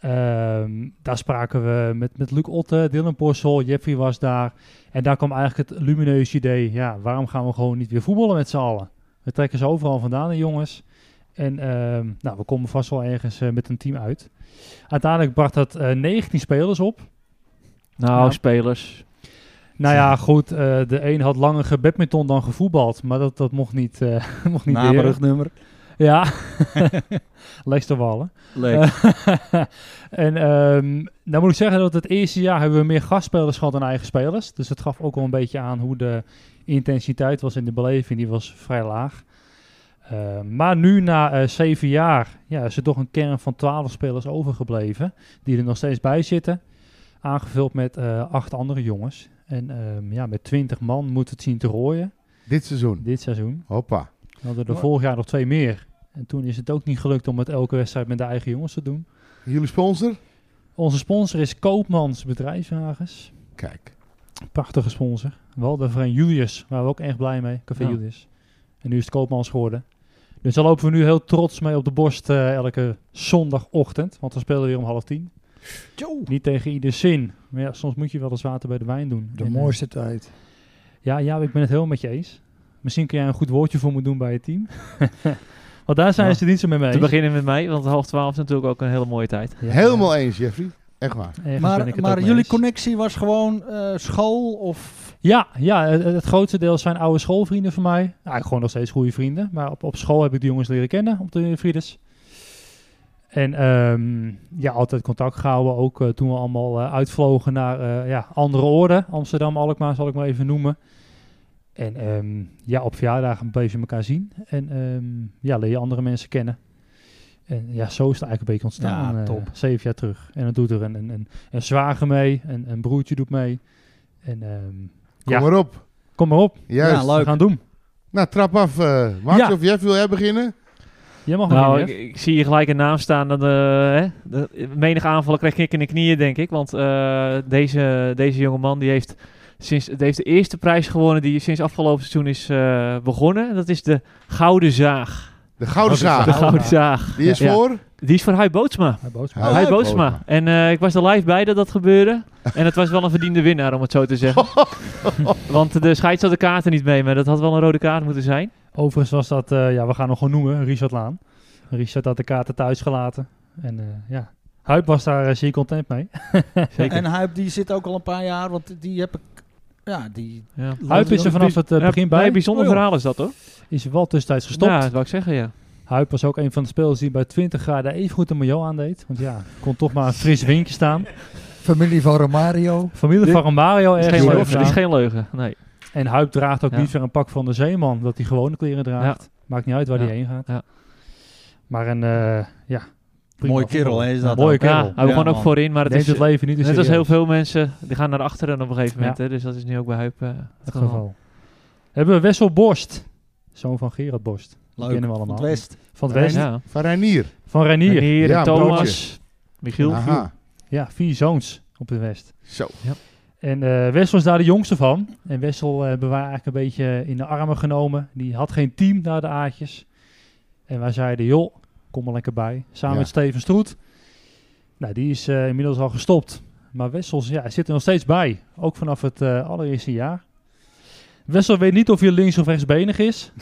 Ehm, daar spraken we met, met Luc Otte, Dylan Porsel, Jeffrey was daar. En daar kwam eigenlijk het lumineus idee, ja, waarom gaan we gewoon niet weer voetballen met z'n allen? We trekken ze overal vandaan, de jongens. En ehm, nou, we komen vast wel ergens eh, met een team uit. Uiteindelijk bracht dat eh 19 spelers op. Nou, Ja. spelers. Nou ja, goed. eh, de een had langer gebadminton dan gevoetbald. Maar dat, dat mocht niet, eh *laughs* mocht niet deren. Namerugnummer. Ja, *laughs* Lesterwallen. Eh, Leuk. *laughs* en ehm nou moet ik zeggen dat het eerste jaar hebben we meer gastspelers gehad dan eigen spelers. Dus dat gaf ook wel een beetje aan hoe de intensiteit was in de beleving. Die was vrij laag. Eh, maar nu na eh, zeven jaar ja, is er toch een kern van twaalf spelers overgebleven. Die er nog steeds bij zitten. Aangevuld met eh, acht andere jongens. En ehm, ja, met twintig man moet het zien te rooien Dit seizoen. dit seizoen. Hoppa. We hadden er Mooi. vorig jaar nog twee meer. En toen is het ook niet gelukt om het elke wedstrijd met de eigen jongens te doen. Jullie sponsor? Onze sponsor is Koopmans Bedrijfswagens. Kijk. Prachtige sponsor. We hadden van Julius, waren we ook echt blij mee. Café Ja. Julius. En nu is het Koopmans geworden. Dus daar lopen we nu heel trots mee op de borst eh, elke zondagochtend. Want we spelen weer om half tien. Niet tegen ieder zin. Maar ja, soms moet je wel eens water bij de wijn doen. De En, eh, mooiste tijd. Ja, ja, ik ben het helemaal met je eens. Misschien kun jij een goed woordje voor me doen bij het team. Want daar zijn Ja. ze het niet zo mee mee. Te beginnen met mij, want half twaalf is natuurlijk ook een hele mooie tijd. Ja, Helemaal eens, Jeffrey. Echt waar. ergens ben ik Maar, het maar ook mee jullie eens. connectie was gewoon eh, school of... Ja, ja het, het grootste deel zijn oude schoolvrienden van mij. Nou, gewoon nog steeds goede vrienden. Maar op, op school heb ik de jongens leren kennen, op de Frides. En ehm, ja, altijd contact gehouden. Ook eh, toen we allemaal eh, uitvlogen naar eh, ja, andere orde. Amsterdam, Alkmaar zal ik maar even noemen. En ehm, ja, op verjaardagen bleef je elkaar zien. En ehm, ja, leer je andere mensen kennen. En ja, zo is het eigenlijk een beetje ontstaan. Ja, eh, top. zeven jaar terug. En dan doet er een, een, een, een zwager mee. Een, een broertje doet mee. En ehm, Kom Ja. maar op. Kom maar op, Juist. we gaan doen. Nou, trap af. eh Max Ja. of Jeff, wil jij beginnen? Jij mag Nou, nou, ik, ik zie hier gelijk een naam staan. Dat, eh, hè, de, menige aanvallen krijg ik in de knieën, denk ik. Want eh, deze, deze jongeman die heeft, sinds, die heeft de eerste prijs gewonnen die sinds afgelopen seizoen is eh, begonnen. En dat is de Gouden Zaag. De Gouden De Zaag. Gouden Gouden Zaag. Zaag. Die is Ja. voor? Die is voor Hai Bootsma. Oh, Hai Huib Bootsma. Bootsma. En eh, ik was er live bij dat dat gebeurde. En het was wel een verdiende winnaar, om het zo te zeggen. Want de scheids had de kaarten niet mee, maar dat had wel een rode kaart moeten zijn. Overigens was dat, eh, ja, we gaan hem gewoon noemen, Richard Laan. Richard had de kaarten thuis gelaten. En eh, ja, Huip was daar eh, zeer content mee. *laughs* Zeker. En Huip die zit ook al een paar jaar, want die heb ik... Ja, die... ja. Huip is er vanaf het eh, Ja, begin bij. nee, bijzonder Oh, joh. verhaal is dat hoor. Is wel tussentijds gestopt. Ja, dat wou ik zeggen, ja. Huip was ook een van de spelers die bij 20 graden even goed een milieu aandeed. Want ja, kon toch maar een fris windje staan. Familie van Romario. Familie van Mario Het is ergens. geen over leugen. Het is geen leugen, nee. En Huip draagt ook Ja. liever een pak van de zeeman, dat hij gewone kleren draagt. Maakt niet uit waar Ja. hij heen gaat. Ja. Maar een, eh, ja. prima Mooie kerel, voetbal. hè, is dat Mooie ook. kerel. Ja, Nou, hij begon Ja, ook man. voorin, maar het Neemt is, het leven niet te net als serieus. heel veel mensen, die gaan naar achteren op een gegeven moment. Ja. Hè, dus dat is nu ook bij Huip eh, het Het geval. geval. Hebben we Wessel Borst. Zoon van Gerard Borst. Die Leuk. kennen Van we allemaal. het West. Van het West. Ja. Van Reinier. Van Reinier. Hier, Ja, Thomas, Michiel. Nou, Aha. Ja, vier zoons op het West. Zo. En eh, Wessel is daar de jongste van. En Wessel eh, hebben wij eigenlijk een beetje in de armen genomen. Die had geen team naar de Aatjes. En wij zeiden, joh, kom maar lekker bij. Samen Ja. met Steven Stroet. Nou, die is eh, inmiddels al gestopt. Maar Wessel ja, hij zit er nog steeds bij. Ook vanaf het eh, allereerste jaar. Wessel weet niet of hij links of rechtsbenig *laughs* is.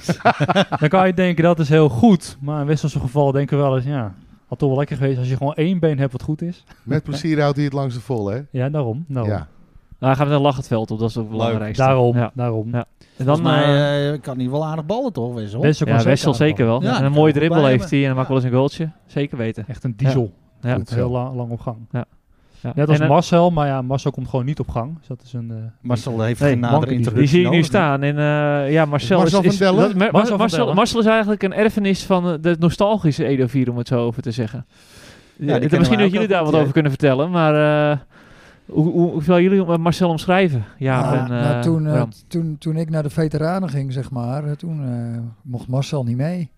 Dan kan je denken, dat is heel goed. Maar in Wessels geval denken we wel eens, ja... Had toch wel lekker geweest als je gewoon één been hebt wat goed is. Met plezier houdt hij het langs de vol, hè? Ja, daarom. daarom. Ja. Nou, gaan we naar lach het veld op, dat is ook het belangrijkste. Daarom, Ja. daarom. Ja. En Dan dan mij, eh, eh, kan hij wel aardig ballen, toch? Wessel? Wessel, kan ja, Wessel zeker wel. Ja, en dat een mooie kan ik wel dribbel bij heeft hij en hij maakt Ja. wel eens een goaltje. Zeker weten. Echt een diesel. Ja. Goed zo. Heel la- lang op gang. Ja. Net als En, eh, Marcel, maar ja, Marcel komt gewoon niet op gang. Dus dat is een... eh, Marcel heeft Nee, geen nadere wanker die- introductie Die zie ik nu nodig, hè? staan. En eh, ja, Marcel, Marcel is, van is, Dellen? dat- Mar- Marcel van Marcel, Dellen. Marcel is eigenlijk een erfenis van eh, de nostalgische Edo 4, om het zo over te zeggen. die Ja, kennen misschien wij dat ook wel jullie daar goed, wat ja. over kunnen vertellen, maar eh, hoe, hoe, hoe zou jullie eh, Marcel omschrijven? Ja, Nou, en, nou, eh, toen, eh, Bram. toen, toen ik naar de veteranen ging, zeg maar, eh, toen eh, mocht Marcel niet mee.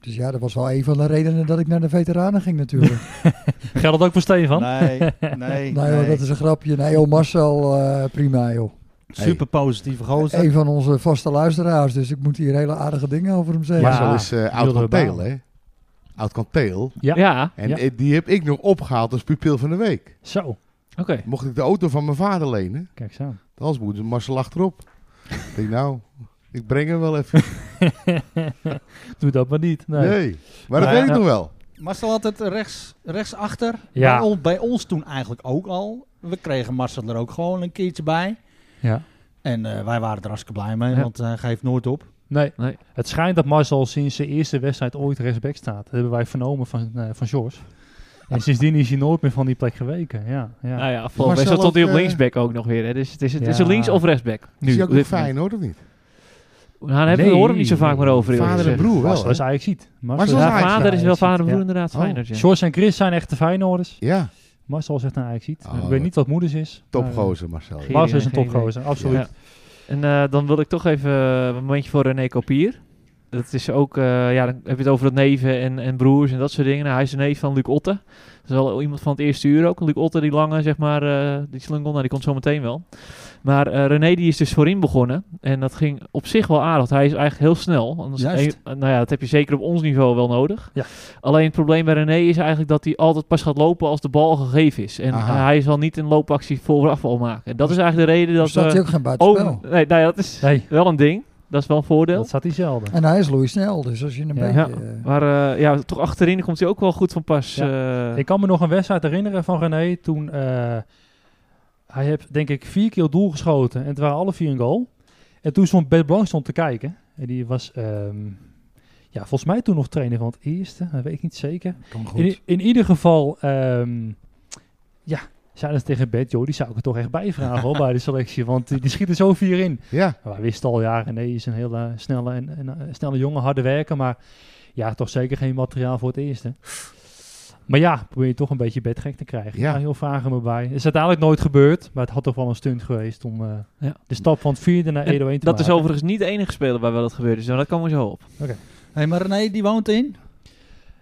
Dus ja, dat was wel een van de redenen dat ik naar de veteranen ging natuurlijk. *laughs* Geldt dat ook voor Stefan? Nou, *laughs* Nee, nee, nou joh, nee. dat is een grapje. Nee joh, Marcel, eh, prima joh. Super positieve gozer. Een van onze vaste luisteraars, dus ik moet hier hele aardige dingen over hem zeggen. Marcel Ja. is eh oud Wilde kanteel, baan. hè? Oud kanteel. Ja. Ja, En Ja. eh, die heb ik nog opgehaald als pupil van de week. Zo, oké. Mocht ik de auto van mijn vader lenen, kijk zo. aan. dan moet Marcel achterop. ik denk, nou, ik breng hem wel even. Doe dat maar niet. Nee. Nee. Maar dat Nee. weet ik Ja. nog wel. Marcel had het rechts, rechtsachter. Ja. Bij, ons, bij ons toen eigenlijk ook al. We kregen Marcel er ook gewoon een keertje bij. Ja. En eh, wij waren er hartstikke blij mee, Ja. want hij geeft nooit op. Nee. Nee. Het schijnt dat Marcel sinds zijn eerste wedstrijd ooit rechtsback staat. Dat hebben wij vernomen van, eh van George. En sindsdien is hij nooit meer van die plek geweken. Ja, Nou ja, ja. afgelopen Marcel wedstrijd stond hij op ook, eh, linksback ook nog weer. Hè. Dus het is, het is Ja. een links- of rechtsback. Nu, Is hij ook op nog dit fijn, hoor, of niet? moment. Nou, daar hebben we Nee. horen hem niet zo vaak meer over. eerlijk Vader en gezegd. broer wel, Marcel hè? is eigenlijk ziet. Marcel is Ja, Ajax- vader is wel vader en broer Ja. inderdaad. Oh. Feyenoord, ja. George en Chris zijn echte Feyenoorders. Ja, Marcel zegt nou eigenlijk ziet. Oh, ik weet niet wat moeders is. maar, topgozer Marcel. eh, Geen- Marcel is een Geen idee. topgozer, absoluut. Ja. En eh, dan wil ik toch even eh, een momentje voor René Kopier. Dat is ook, eh, ja, dan heb je het over dat neven en, en broers en dat soort dingen. Nou, hij is de neef van Luc Otte. Dat is wel iemand van het eerste uur ook. Luc Otte, die lange, zeg maar, eh, die slungel, nou, die komt zo meteen wel. Maar eh, René, die is dus voorin begonnen. En dat ging op zich wel aardig. want Hij is eigenlijk heel snel. Anders Juist. eh, nou ja, dat heb je zeker op ons niveau wel nodig. Ja. Alleen het probleem bij René is eigenlijk dat hij altijd pas gaat lopen als de bal gegeven is. En Aha. hij zal niet een loopactie vooraf al maken. En dat is eigenlijk de reden dat... eh, Dan staat we- hij ook geen buitenspel. Oh, nee, nou ja, dat is Nee, wel een ding. Dat is wel een voordeel. dat staat hij zelden. En hij is loeisnel, dus als je een Ja. beetje... eh, Maar eh, ja, toch achterin komt hij ook wel goed van pas. eh. Ik kan me nog een wedstrijd herinneren van René toen eh, hij heeft denk ik vier keer op doel geschoten en het waren alle vier een goal. En toen stond Bert Blank stond te kijken en die was ehm, ja, volgens mij toen nog trainer van het eerste, dat weet ik niet zeker. Kom In, i- goed. in ieder geval, ehm, ja, zeiden ze tegen Bert, joh, die zou ik er toch echt bij vragen hoor, bij de selectie, want die, die schiet er zo vier in. Ja, Maar Wij wisten al jaren, nee, is een hele snelle, en, en, eh, snelle jongen, harde werker. Maar ja, toch zeker geen materiaal voor het eerste. Maar ja, probeer je toch een beetje bedgek te krijgen. Ja. Ja. heel vragen me bij. Is uiteindelijk nooit gebeurd, maar het had toch wel een stunt geweest om eh, Ja. de stap van het vierde naar En 1 1 te dat is maken. overigens niet de enige speler bij wel dat gebeurd is. maar dat komen we zo op. hey, maar René, die woont in?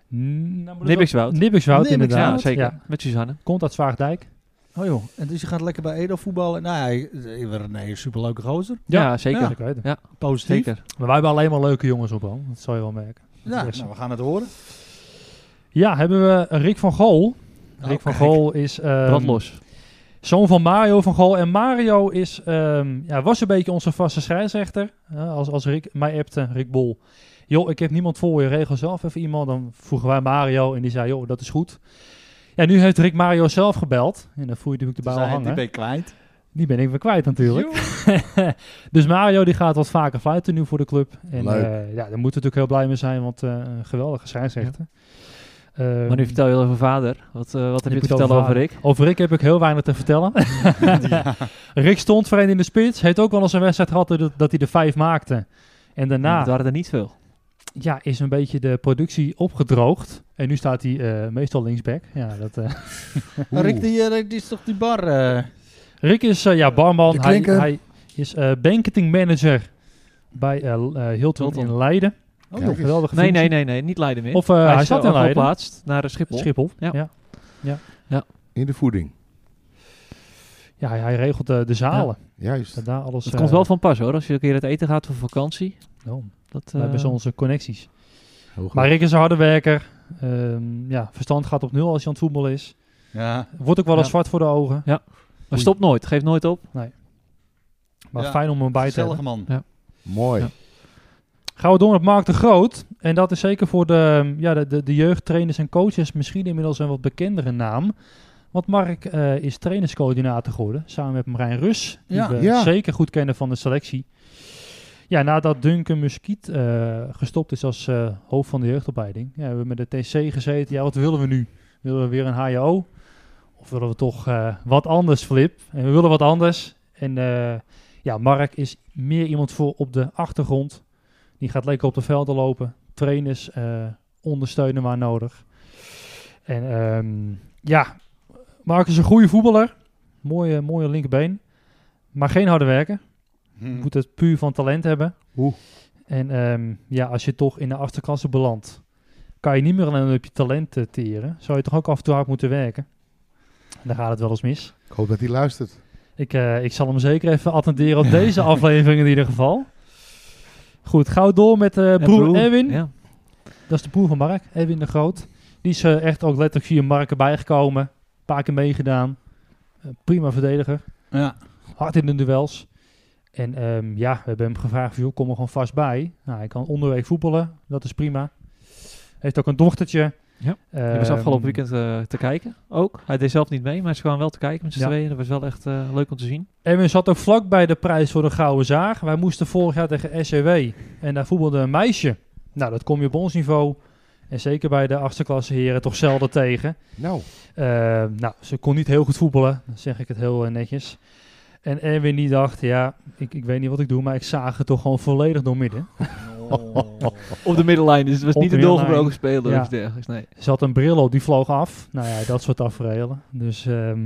Mm, nou moet het wel- Nibbikswoud. Nibbikswoud, inderdaad. Ja, zeker. Ja. Met Suzanne. Komt uit Zwaagdijk. Oh joh, en dus je gaat lekker bij Edo voetballen. Nou ja, eh, René is een superleuke gozer. Ja, zeker. Ja. Zeker weten. Ja. Positief. Zeker. Maar wij hebben alleen maar leuke jongens op, al. Dat zal je wel merken. Ja, Dus- nou, we gaan het horen. Ja, hebben we Rick van Gool. Rick Oh, van kijk. Gool is... ehm, Brand los. Zoon van Mario van Gol. En Mario is, ehm, ja, was een beetje onze vaste scheidsrechter. Eh, als, als Rick mij appte, Rick Bol. Joh, ik heb niemand voor je, regel zelf even iemand. Dan vroegen wij Mario en die zei, joh, dat is goed. Ja, nu heeft Rick Mario zelf gebeld. En dan voel je natuurlijk de Dus bal hij- hangen. die ben je *laughs* kwijt. Die ben ik weer kwijt natuurlijk. *laughs* dus Mario die gaat wat vaker fluiten nu voor de club. En Leuk. eh, ja, daar moeten we natuurlijk heel blij mee zijn, want eh, een geweldige scheidsrechter. Ehm, Maar nu vertel je over vader. Wat, eh, wat heb heb je te ik het vertellen over over Rick? over Rick heb ik heel weinig te *laughs* vertellen. Rick stond voor een in de spits. Heeft ook wel eens een wedstrijd gehad dat, dat hij de vijf maakte. En daarna Het waren er niet veel. ja, is een beetje de productie opgedroogd. En nu staat hij eh, meestal linksback. Ja, dat, eh. *laughs* Maar Rick, die, eh, Rick, die is toch die bar? eh? Rick is eh, ja, barman. De Hij, klinker. hij is eh banketing manager bij eh, L- eh, Hilton, Hilton. in Leiden. Oh, Kijk. joh. Geweldige Nee, functie. nee, nee, nee. Niet Leiden meer. Of eh, hij, is zat wel in Leiden. verplaatst naar eh, Schiphol. Schiphol. Ja. Ja. Ja. in de voeding. hij, hij regelt eh, de zalen. Juist. Dat daar alles, Dat eh, komt wel van pas hoor. Als je een keer het eten gaat voor vakantie. nou, Dat, wij hebben eh, zo onze connecties. Heel goed. Maar Rick is een harde werker. Ehm, ja, verstand gaat op nul als hij aan het voetballen is. Ja. Wordt ook wel eens Ja. zwart voor de ogen. maar stopt nooit. Geeft nooit op. Maar Ja. fijn om hem bij te Gezellige hebben. man. Mooi. Ja. Gaan we door met Mark de Groot. En dat is zeker voor de, ja, de, de, de jeugdtrainers en coaches misschien inmiddels een wat bekendere naam. Want Mark eh, is trainerscoördinator geworden. Samen met Marijn Rus. Die Ja. we Ja. zeker goed kennen van de selectie. Ja, nadat Duncan Muskiet eh, gestopt is als eh, hoofd van de jeugdopleiding. Ja, we hebben met de TC gezeten. Ja, wat willen we nu? Willen we weer een HJO? Of willen we toch eh, wat anders, Flip? En we willen wat anders. En eh, ja, Mark is meer iemand voor op de achtergrond. Die gaat lekker op de velden lopen. Trainers eh, ondersteunen waar nodig. En ehm, ja, Mark is een goede voetballer. Mooie, mooie linkerbeen. Maar geen harde werken. Je moet het puur van talent hebben. Oeh. En ehm, ja, als je toch in de achterklasse belandt, kan je niet meer alleen op je talent eh, teren. Zou je toch ook af en toe hard moeten werken. En daar gaat het wel eens mis. Ik hoop dat hij luistert. Ik, eh, ik zal hem zeker even attenderen *laughs* op deze aflevering in ieder geval. Goed, gauw door met eh, En broer, Erwin. Ja. Dat is de broer van Mark, Erwin de Groot. Die is eh, echt ook letterlijk via Mark erbij gekomen. Een paar keer meegedaan. Eh, prima verdediger. Ja. Hard in de duels. En ehm, ja, we hebben hem gevraagd, joh, kom er gewoon vast bij. Nou, hij kan onderweg voetballen. Dat is prima. Heeft ook een dochtertje. Ehm, Ja, Die was afgelopen weekend eh, te kijken ook. Hij deed zelf niet mee, maar ze kwamen wel te kijken met z'n Ja. tweeën. Dat was wel echt eh, leuk om te zien. Erwin zat ook vlak bij de prijs voor de Gouden Zaag. Wij moesten vorig jaar tegen SCW en daar voetbalde een meisje. Nou, dat kom je op ons niveau en zeker bij de achterklasse heren toch zelden tegen. Nou, Eh, nou, ze kon niet heel goed voetballen, dan zeg ik het heel eh, netjes. En Erwin die dacht, ja, ik, ik weet niet wat ik doe, maar ik zaag het toch gewoon volledig door midden. Op de middenlijn, dus het was Op niet de een middenlijn. doorgebroken speler Ja. of iets dergelijks. Nee. Ze had een bril op, die vloog af. Nou ja, dat soort tafereelen. Dus ehm,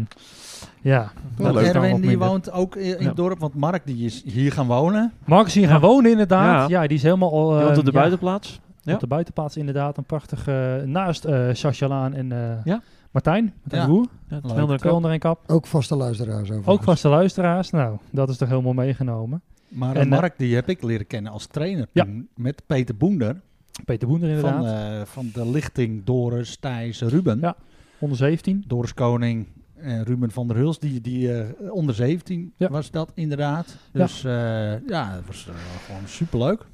ja, Oh, Wel kan leuk. wat Erwin die minder. woont ook i- in Ja. het dorp, want Mark die is hier gaan wonen. Mark is hier gaan wonen inderdaad. Ja. die is helemaal al... Die woont eh, op de ja, buitenplaats. Ja. Op de buitenplaats inderdaad. Een prachtige... naast eh Sascha Laan en eh, Ja. Martijn. Martijn Ja. de Boer. Ja, Leuk. twee onder Twee elkaar. onder één kap. Ook vaste luisteraars over. Ook vaste luisteraars. Nou, dat is toch helemaal meegenomen. Maar En, eh, Mark die heb ik leren kennen als trainer Ja. toen met Peter Boender Peter Boender inderdaad. van, eh, van de lichting Doris, Thijs, Ruben. Ja. onder 17. Doris Koning en Ruben van der Huls, die, die eh, onder 17 Ja. was dat inderdaad. Dus ja, ja dat was eh, gewoon superleuk.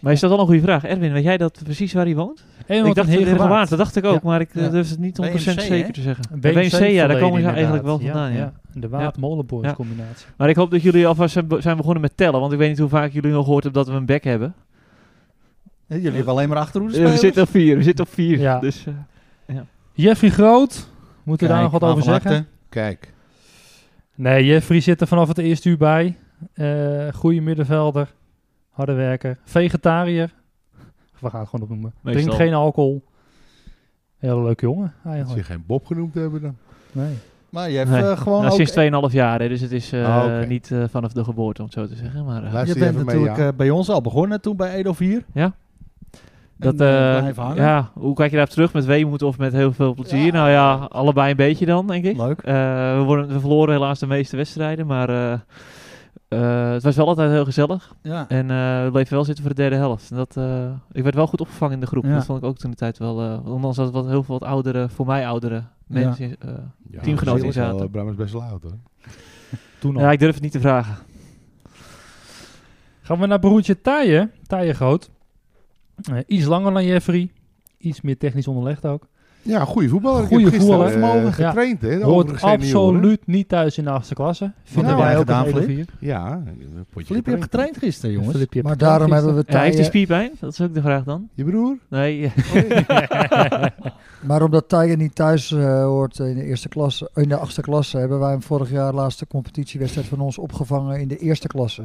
Maar is dat wel een goede vraag? Erwin, weet jij dat precies waar hij woont? En ik dacht heel Waard, dat dacht ik ook, maar ik eh, Ja. durf het niet 100% BMC, zeker hè? te zeggen. BMC, ja, daar komen ze eigenlijk wel vandaan. Ja. De Waard-Molenboys Ja. combinatie. Maar ik hoop dat jullie alvast zijn be- zijn begonnen met tellen, want ik weet niet hoe vaak jullie nog gehoord hebben dat we een back hebben. Hè, Jullie hebben alleen maar achterhoede Eh, we spelers. zitten op vier, we zitten op vier. Ja. Dus, eh, Jeffrey Groot. Moeten we daar Kijk, nog wat over van zeggen? harte. kijk. Nee, Jeffrey zit er vanaf het eerste uur bij. Eh goede middenvelder. Harde werker. Vegetariër. We gaan het gewoon opnoemen. Meestal. Drinkt geen alcohol. Hele leuke jongen Als je eigenlijk. geen Bob genoemd hebben dan. Nee. Maar je hebt Nee. eh, gewoon nou, ook... sinds 2,5 jaar, hè, dus het is eh, Oh, Ah, oké. niet eh, vanaf de geboorte, om het zo te zeggen. Maar, eh, Luister je je bent even mee, natuurlijk ja. eh, bij ons al begonnen toen bij Edo 4. Ja. Dat dat, eh, blijven hangen. ja, hoe kijk je daar op terug? Met weemoed of met heel veel plezier? Nou ja, allebei een beetje dan, denk ik. Leuk. Eh, we, worden, we verloren helaas de meeste wedstrijden, maar eh, eh, het was wel altijd heel gezellig. Ja. En eh, we bleven wel zitten voor de derde helft. En dat, eh, ik werd wel goed opgevangen in de groep. Ja. Dat vond ik ook toen de tijd wel. eh, want ondanks dat wat heel veel wat oudere, voor mij oudere mensen. eh, Ja, Ja, teamgenoot gezellig inzaten. wel, eh, Bram is best wel oud hoor. Toen al. ik durf het niet te vragen. Gaan we naar broertje Taaien. Taaien Groot. Eh, iets langer dan Jeffrey. Iets meer technisch onderlegd ook. Ja, goede voetballer. Goeie Goede voetballer. voetballer. Vermogen Ja. getraind, hè? de Hoort overige senioren. absoluut niet thuis in de achtste klasse. Vinden hebben Nou, wij wij ook gedaan, een hele Flip? vier. Ja, een potje Filip, je getraind. hebt getraind gisteren, jongens. Filip, je hebt Maar gedaan daarom hebben gisteren. we Ja, heeft hij Taaien... spierpijn? Dat is ook de vraag dan. Je broer? Nee, Maar omdat Taaien niet thuis eh, hoort in de eerste klasse, in de achtste klasse, hebben wij hem vorig jaar laatste competitiewedstrijd van ons opgevangen in de eerste klasse.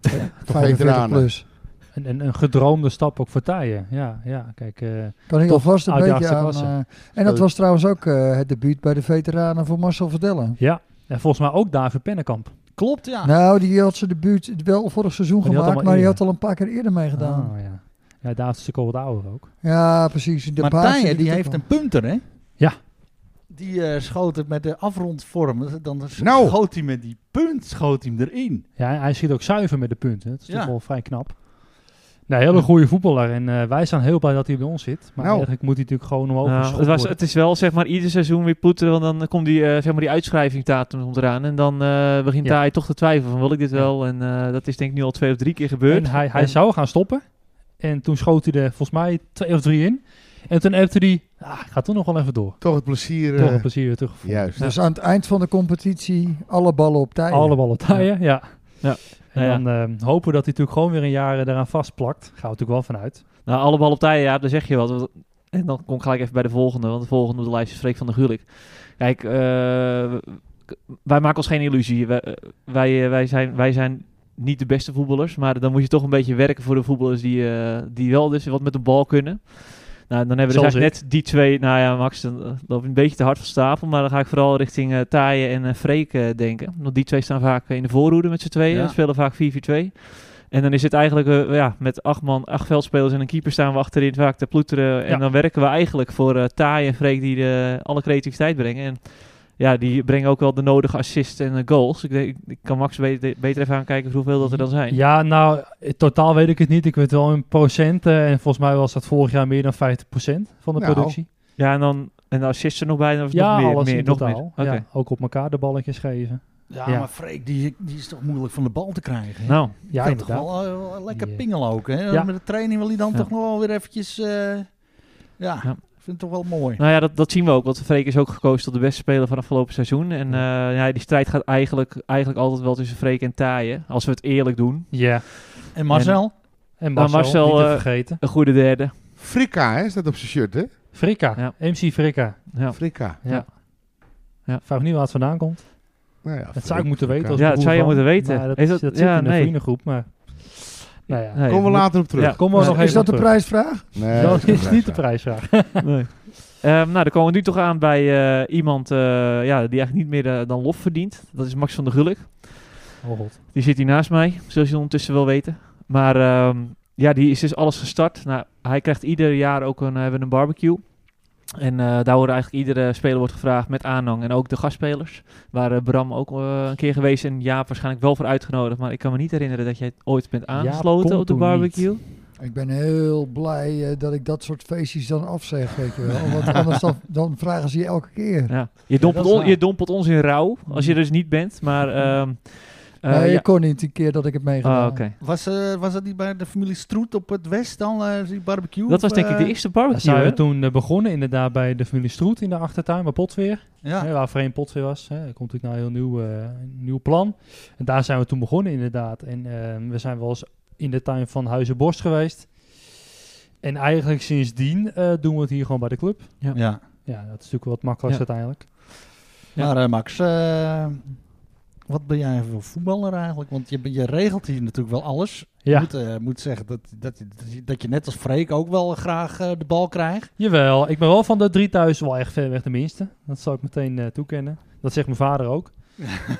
Eh, veteranen. plus. Een, een, een gedroomde stap ook voor Taaien. Ja, ja, kijk. eh, Kan heel Toch, vast een uit de beetje achtste aan. klasse. eh, en dat Eh. was trouwens ook eh, het debuut bij de veteranen voor Marcel Verdellen. ja. En volgens mij ook David Pennekamp. Klopt, ja. Nou, die had zijn debuut wel vorig seizoen Maar die had gemaakt, al maar die eerder. had al een paar keer eerder meegedaan. Ah, ja. ja, David is natuurlijk al wat ouder ook. Ja, precies. De maar basis Tijje, die natuurlijk heeft een wel. punter, hè? Ja. Die eh, schoot het met de afrondvorm. Dan s- Nou. schoot hij met die punt schoot hij hem erin. Ja, en hij schiet ook zuiver met de punten. Dat is toch Ja. wel vrij knap. Nou, hele goede voetballer. En eh, wij zijn heel blij dat hij bij ons zit. Maar Nou. eigenlijk moet hij natuurlijk gewoon omhoog Nou, geschopt het, was, worden. het is wel zeg maar ieder seizoen weer ploeteren, want dan komt die, eh, zeg maar die uitschrijvingdatum komt eraan. En dan eh, begint Ja. hij toch te twijfelen van wil ik dit Ja. wel? En eh, dat is denk ik nu al twee of drie keer gebeurd. En hij, hij En- zou gaan stoppen. En toen schoot hij er volgens mij twee of drie in. En toen appte hij, ah, ik ga toch nog wel even door. Toch het plezier. Toch eh, een plezier weer teruggevonden. Juist. Dus aan het eind van de competitie alle ballen op tijd. Alle ballen taaien, ja. Ja. En Ja, ja. dan eh, hopen we dat hij natuurlijk gewoon weer een jaar eh, daaraan vastplakt. Gaan we natuurlijk wel vanuit. Nou, alle bal op tijd, ja, daar zeg je wat. Want- En dan kom ik gelijk even bij de volgende, want de volgende op de lijst is Freek van der Gulik. Kijk, eh, k- wij maken ons geen illusie. Wij, eh, wij, eh, wij, zijn, wij zijn niet de beste voetballers, maar dan moet je toch een beetje werken voor de voetballers die, eh, die wel dus wat met de bal kunnen. Nou, dan hebben we Zoals dus eigenlijk net die twee. Nou ja, Max, dan eh, loop je een beetje te hard van stapel. Maar dan ga ik vooral richting eh Taaien en eh, Freek eh, denken. Want die twee staan vaak eh, in de voorhoede met z'n tweeën. Ja. Spelen vaak 4-4-2. En dan is het eigenlijk eh, ja, met acht man, acht veldspelers en een keeper staan we achterin vaak te ploeteren. En Ja. dan werken we eigenlijk voor eh Taai en Freek die de, alle creativiteit brengen. En ja, die brengen ook wel de nodige assists en eh, goals. Ik, denk, ik kan Max beter, beter even aankijken voor hoeveel dat er dan zijn. Ja, nou, in totaal weet ik het niet. Ik weet wel in procenten. eh, En volgens mij was dat vorig jaar meer dan 50% van de Nou, productie. Ja, en dan en de assists er nog bij. Dan is het Ja, nog meer, alles meer, in nog totaal. meer. Oké. Ja, ook op elkaar de balletjes geven. Ja, Ja. maar Freek, die, die is toch moeilijk van de bal te krijgen. hè? Nou, Ja, kan toch inderdaad. wel eh, wel lekker Ja. pingelen ook. Hè? Ja. Met de training wil hij dan Ja. toch nog wel weer eventjes... eh, ja. Ja. Ik vind het toch wel mooi. Nou ja, dat, dat zien we ook. Want Freek is ook gekozen tot de beste speler van afgelopen seizoen. En eh, ja, die strijd gaat eigenlijk, eigenlijk altijd wel tussen Freek en Taaien. Als we het eerlijk doen. Ja. En Marcel? En Marcel, Marcel, niet te eh, vergeten. Een goede derde. Frikka, hè, staat op zijn shirt, hè? Frikka. Ja. MC Frikka. Ja, Frikka. Ja. Ja. Ja. Vraag me niet waar het vandaan komt. Nou ja, Dat zou ik Frikka. moeten weten. Als Ja, broer dat zou je van, moeten weten. maar dat, Is dat, dat- zit ja, in de nee. vriendengroep, maar... Nou ja. Nee, Komen we moet- later op terug. Ja. Komen we nog even Is dat de op terug. prijsvraag? Nee, dat geen is niet de prijsvraag. prijsvraag. Nee. Ehm, nou, dan komen we nu toch aan bij eh, iemand eh, ja, die eigenlijk niet meer eh, dan lof verdient. Dat is Max van der Gulik. *laughs* Oh god. Die zit hier naast mij, zoals je ondertussen wel weten. Maar ehm, ja, die is dus alles gestart. Nou, hij krijgt ieder jaar ook een, eh, hebben we een barbecue. En eh, daar worden eigenlijk iedere speler wordt gevraagd met aanhang. En ook de gastspelers. Waar eh, Bram ook eh, een keer geweest en Jaap waarschijnlijk wel voor uitgenodigd. Maar ik kan me niet herinneren dat jij ooit bent aangesloten komt op de toen niet. barbecue. Ik ben heel blij eh, dat ik dat soort feestjes dan afzeg, weet je wel. Want anders dan, dan vragen ze je elke keer. Ja. Je, dat dompelt is on- waar. je dompelt ons in rouw, als je er dus niet bent. Maar ehm eh, nee, ja. ik kon niet die keer dat ik het meegedaan. Ah, heb. oké. Was, eh, was dat niet bij de familie Stroet op het West dan, eh, die barbecue? Dat was Of, denk ik eh, de eerste Daar barbecue. zijn hè? we toen eh, begonnen inderdaad bij de familie Stroet in de achtertuin bij Potweer. Ja. Hè, waar voorheen Potweer was. Hè. Er komt natuurlijk nou een heel nieuw, eh, een nieuw plan. En daar zijn we toen begonnen inderdaad. En ehm, we zijn wel eens in de tuin van Huizen Borst geweest. En eigenlijk sindsdien eh, doen we het hier gewoon bij de club. ja. Ja, dat is natuurlijk wat makkelijker uiteindelijk. Ja. Maar eh, Max, eh, wat ben jij voor voetballer eigenlijk? Want je, ben- je regelt hier natuurlijk wel alles. Je Ja, moet, eh, moet zeggen dat, dat, je- dat, je, dat je net als Freek ook wel graag eh, de bal krijgt. jawel. Ik ben wel van de drie thuis wel echt ver weg de minste. Dat zal ik meteen eh, toekennen. Dat zegt mijn vader ook.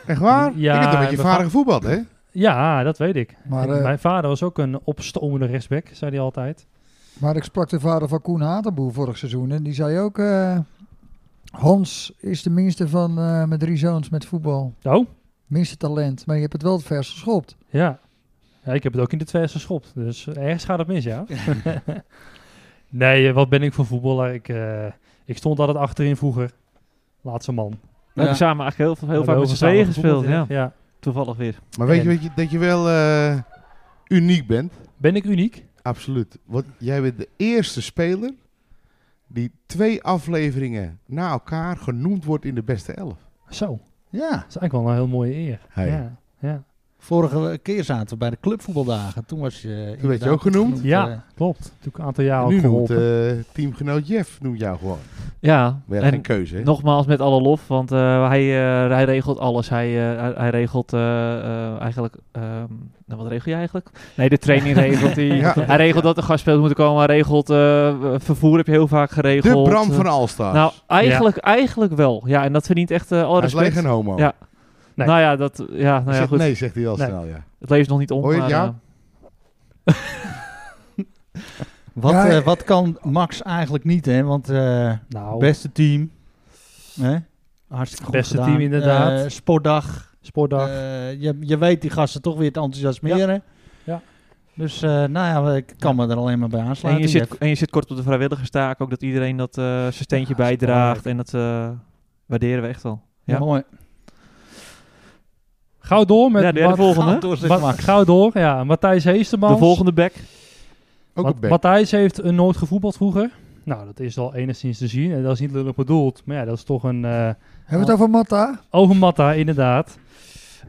Echt waar? Ja, ik heb toch met je en vader bepaal- gevoetbald, hè? Ja, dat weet ik. Maar, En eh, mijn vader was ook een opstomende rechtsback, zei hij altijd. Maar ik sprak de vader van Koen Hatenboer vorig seizoen. En die zei ook... eh, Hans is de minste van eh mijn drie zoons met voetbal. Oh, Minste talent. Maar je hebt het wel het vers geschopt. Ja. ja, ik heb het ook in de tweede geschopt. Dus ergens gaat het *laughs* mis, ja. nee, eh, wat ben ik voor voetballer? Ik, eh, ik stond altijd achterin vroeger. Laatste man. We hebben samen eigenlijk heel, heel vaak met z'n tweeën gespeeld. Ja. ja. Toevallig weer. Maar weet je, weet je dat je wel eh, uniek bent? Ben ik uniek? Absoluut. Want jij bent de eerste speler die twee afleveringen na elkaar genoemd wordt in de beste elf. Zo, dat Ja, is eigenlijk wel een heel mooie eer. Hey. Ja, ja. vorige keer zaten we bij de clubvoetbaldagen. Toen was je inderdaad werd je ook genoemd. Ja. eh, klopt. Natuurlijk een aantal jaren En ook nu noemt geholpen. eh, teamgenoot Jeff noemt jou gewoon. Ja, Maar je had en geen keuze, hè? nogmaals met alle lof, want eh, hij, eh, hij regelt alles. Hij, eh, hij- hij regelt eh, eh, eigenlijk... ehm, nou, wat regel je eigenlijk? Nee, de training regelt hij. *laughs* Ja. Hij regelt dat er gastspelers moeten komen. Hij regelt... eh, vervoer heb je heel vaak De geregeld. Bram van Alstaar. Nou, eigenlijk, eigenlijk wel. Ja, en dat verdient echt eh alle Hij is leeg respect. en homo. Ja, Nee. Nou ja, dat, ja, nou Hij ja zegt goed. nee, zegt hij al Nee. snel, ja. Het leeft nog niet om. Hoor je het, maar, ja? eh, Wat, Ja, eh, eh, wat kan Max eigenlijk niet, hè? Want eh Nou, beste team. Hè? Hartstikke goed Beste gedaan. team, inderdaad. Eh, sportdag. sportdag. Eh, je, je weet die gasten toch weer te enthousiasmeren. Ja. Dus eh, nou ja, ik kan me er alleen maar bij en, aansluiten. je zit, en je zit kort op de vrijwilligerstaak. Ook dat iedereen dat eh, zijn steentje Ja, dat is bijdraagt. En dat eh, waarderen we echt wel. ja. ja. mooi. Gauw door met... ja, de, de Mart- volgende. Gaat door, zeg Mart- Max. Gauw door, ja. Matthijs Heestermans. De volgende back. Ook Mat- een bek. Matthijs heeft eh, nooit gevoetbald vroeger. Nou, dat is al enigszins te zien. En dat is niet lullig bedoeld. Maar ja, dat is toch een... eh, Hebben we het over Matta? Over Matta, inderdaad.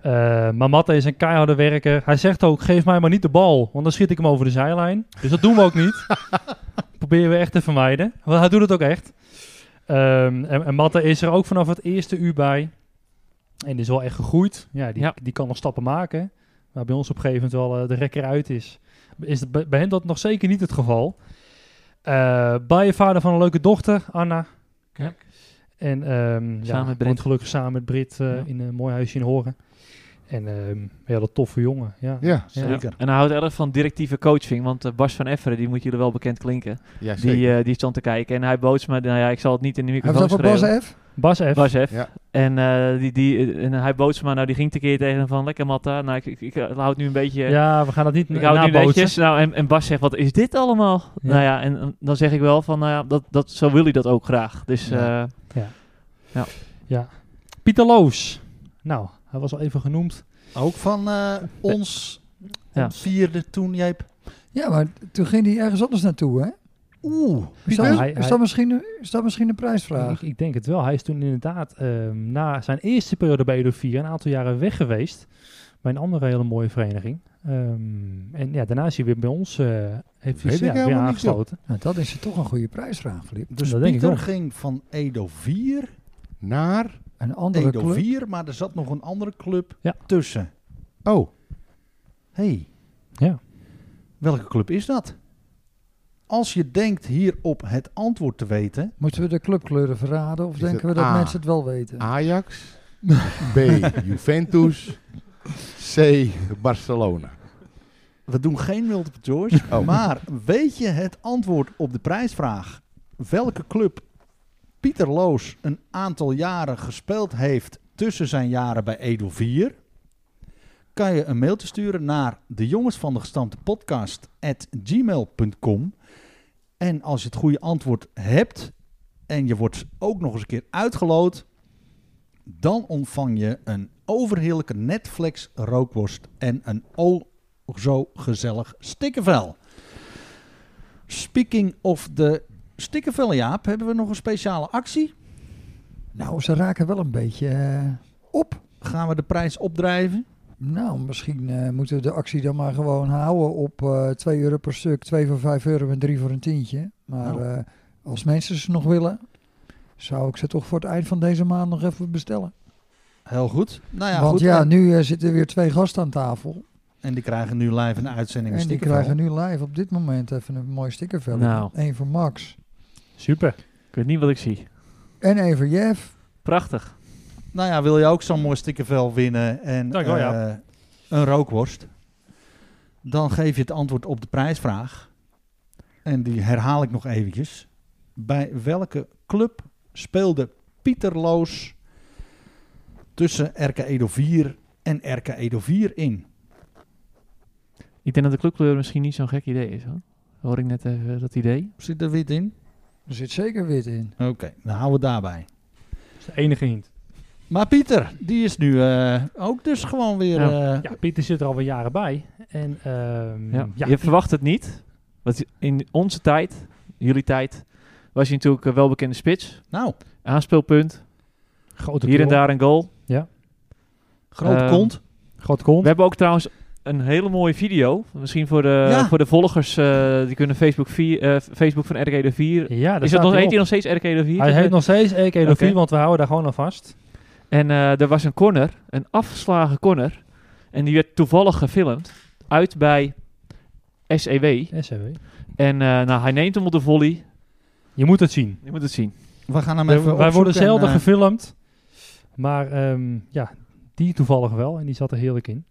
Eh, maar Matta is een keiharde werker. Hij zegt ook, geef mij maar niet de bal, want dan schiet ik hem over de zijlijn. Dus dat doen we ook *laughs* niet. Proberen we echt te vermijden. Want hij doet het ook echt. Ehm, en, en Matta is er ook vanaf het eerste uur bij. En is wel echt gegroeid. Ja, die, Ja. die kan nog stappen maken. Maar bij ons op een gegeven moment wel eh, de rekker uit is. Is dat bij bij hen dat nog zeker niet het geval. Eh bij je vader van een leuke dochter, Anna. Ja. En ehm ja, Samen met Brit. woont gelukkig samen met Brit eh, Ja. in een mooi huisje in Horen. En ehm een hele toffe jongen. Ja. Ja, Ja. Zeker. En hij houdt erg van directieve coaching. Want eh, Bas van Efferen, die moet jullie wel bekend klinken. ja Die, zeker. eh, die stond te kijken. En hij bood me... Nou ja, ik zal het niet in de Hebben we microfoon het over Bas schreeuwen. F? Bas F. Bas F. Ja. En, eh, die, die, en hij bood me... Nou, die ging tekeer tegen hem van... Lekker Matta. Nou, ik, ik, ik houd nu een beetje... ja, we gaan dat niet Ik hou het nu nabootsen. netjes. Nou, en, en Bas zegt, wat is dit allemaal? Ja. Nou ja, en, en dan zeg ik wel van, nou ja, dat, dat, zo wil hij dat ook graag. Dus Ja. eh, Pieter Loos. Nou, hij was al even genoemd. Ook van eh, ons Ja. ons vierde toen, Jeep. Ja, maar toen ging hij ergens anders naartoe, hè? Oeh, is Pieter, dat, hij- is, hij- dat misschien, een- is dat misschien een prijsvraag? Ik, ik denk het wel. Hij is toen inderdaad ehm, na zijn eerste periode bij Edo 4 een aantal jaren weg geweest. Bij een andere hele mooie vereniging. Ehm, en ja, daarna is hij weer bij ons. eh, heeft Weet hij zich ik ja, weer helemaal niet, joh. aangesloten. Nou, dat is toch een goede prijsvraag, Flip. Dus Dat denk ik Pieter wel. ging van Edo 4 Naar? Een andere Edo club. 4, maar er zat nog een andere club Ja. tussen. Oh, hey, Ja. welke club is dat? Als je denkt hierop het antwoord te weten, Moeten we de clubkleuren verraden of Is denken het we dat A? mensen het wel weten? *laughs* Ajax. B. Juventus. C. Barcelona. we doen geen multiple choice, Oh. maar weet je het antwoord op de prijsvraag? Welke club Pieter Loos een aantal jaren gespeeld heeft tussen zijn jaren bij Edo 4? Kan je een mail te sturen naar de jongens van de gestampte podcast at gmail.com. En als je het goede antwoord hebt en je wordt ook nog eens een keer uitgeloot, dan ontvang je een overheerlijke Netflix rookworst en een o zo gezellig stikkenvel. Speaking of de stikkenvel, Jaap, hebben we nog een speciale actie? Nou, ze raken wel een beetje eh, op. Gaan we de prijs opdrijven? Nou, misschien eh, moeten we de actie dan maar gewoon houden op eh 2 euro per stuk, 2 voor 5 euro en 3 voor een tientje. Maar Nou. eh, als mensen ze nog willen, zou ik ze toch voor het eind van deze maand nog even bestellen. Heel goed. Nou ja, Want goed. ja, en, nu eh, zitten weer twee gasten aan tafel. en die krijgen nu live een uitzending. En die stikkenvel. krijgen nu live op dit moment even een mooi stickervel. Nou. Eén voor Max Super. Ik weet niet wat ik zie. en één voor Jeff. Prachtig. Nou ja, wil je ook zo'n mooi stikkenvel winnen en Dank je wel, eh, een rookworst? Dan geef je het antwoord op de prijsvraag. En die herhaal ik nog eventjes. Bij welke club speelde Pieter Loos tussen RK Edo 4 en RK Edo 4 in? Ik denk dat de clubkleur misschien niet zo'n gek idee is. Hoor. Hoor ik net even dat idee? Zit er wit in? Er zit zeker wit in. Oké, dan houden we het daarbij. Dat is de enige hint. Maar Pieter, die is nu eh, ook dus gewoon weer... Ja. eh, Ja, Pieter zit er alweer jaren bij. En ehm, Ja. ja. Mm, Je verwacht het niet. Want in onze tijd, jullie tijd, was hij natuurlijk een welbekende spits. Nou, Aanspeelpunt. grote Hier en kont. daar een goal. grote Ehm, kont. Grote kont. We hebben ook trouwens een hele mooie video. Misschien voor de, Ja. voor de volgers eh, die kunnen Facebook, vier, eh, Facebook van RK de 4. Ja, daar is staat dat nog, hij heet hij op. nog steeds RK de 4? Hij heet nog steeds EK Edo 4, Oké. want we houden daar gewoon aan vast. En eh, er was een corner, een afgeslagen corner. En die werd toevallig gefilmd uit bij SEW. SCW. En eh, nou, hij neemt hem op de volley. Je moet het zien. Je moet het zien. We gaan hem Wij- even wij worden opzoeken en, zelden eh, gefilmd. Maar ehm, ja, die toevallig wel. En die zat er heerlijk in.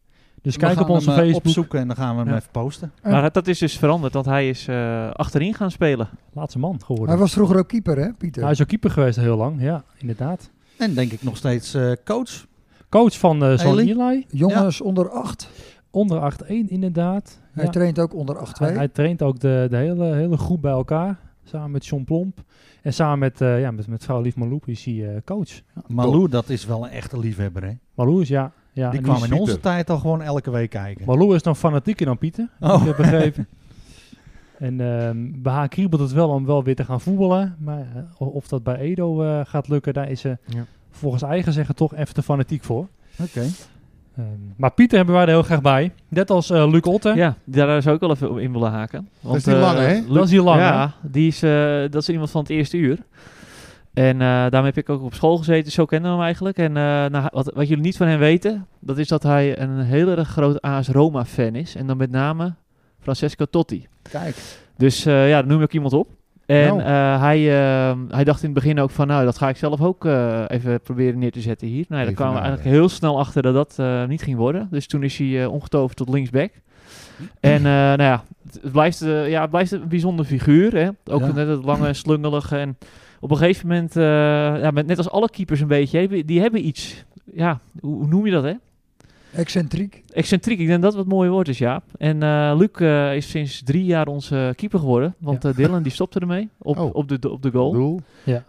Dus We kijk op gaan onze hem, eh, Facebook. opzoeken en dan gaan we hem Ja. even posten. Ja. Maar dat- dat is dus veranderd, want hij is eh, achterin gaan spelen. Laatste man geworden. Hij was vroeger ook keeper, hè, Pieter? Hij is ook keeper geweest heel lang. Ja, inderdaad. En denk ik nog steeds eh, coach. Coach van eh Son Eli? Eli. Jongens onder 8. Onder 8-1 inderdaad. Hij Ja. traint ook onder 8 Hij, hij traint ook de, de hele, hele groep bij elkaar. Samen met John Plomp. En samen met, eh, ja, met, met vrouw Lief Maloep is hij eh, coach. Malou, dat is wel een echte liefhebber. Hè? Malou is ja. ja die en kwam is- in onze Pieter. tijd al gewoon elke week kijken. Malou is nog fanatieker dan Pieter. Oh. Ik heb begrepen. En ehm bij haar kriebelt het wel om wel weer te gaan voetballen. Maar eh, o- of dat bij Edo eh, gaat lukken, daar is ze Ja. volgens eigen zeggen toch even te fanatiek voor. *laughs* Oké. Ehm, maar Pieter hebben wij er heel graag bij. Net als eh, Luc Otten. Ja, daar zou ik wel even op in willen haken. Want, is die eh, lange, hè? Luc- Dat is die lange, Ja, die is, eh, dat is iemand van het eerste uur. En eh daarom heb ik ook op school gezeten, zo kennen we hem eigenlijk. En eh, nou, wat, wat jullie niet van hem weten, dat is dat hij een heel erg groot AS Roma-fan is. En dan met name Francesco Totti. Kijk. Dus eh, ja, daar noem ik iemand op. En Nou. eh, hij, eh, hij dacht in het begin ook van, nou, dat ga ik zelf ook eh, even proberen neer te zetten hier. Nou, ja, daar Even kwamen we nadenken. eigenlijk eh. heel snel achter dat dat eh, niet ging worden. Dus toen is hij eh, omgetoverd tot linksback. Hm. En eh, nou ja, het- het blijft, eh, ja, het blijft een bijzonder figuur. Hè? Ook Ja. net het lange en slungelige. En op een gegeven moment, eh, ja, met, net als alle keepers een beetje, die hebben, die hebben iets. Ja, hoe, hoe noem je dat, hè? Excentriek. Excentriek, ik denk dat dat het mooie woord is, Jaap. En eh, Luc eh, is sinds drie jaar onze keeper geworden. Want eh, Dylan die stopte ermee op, Oh. op, de, op de goal. Doel.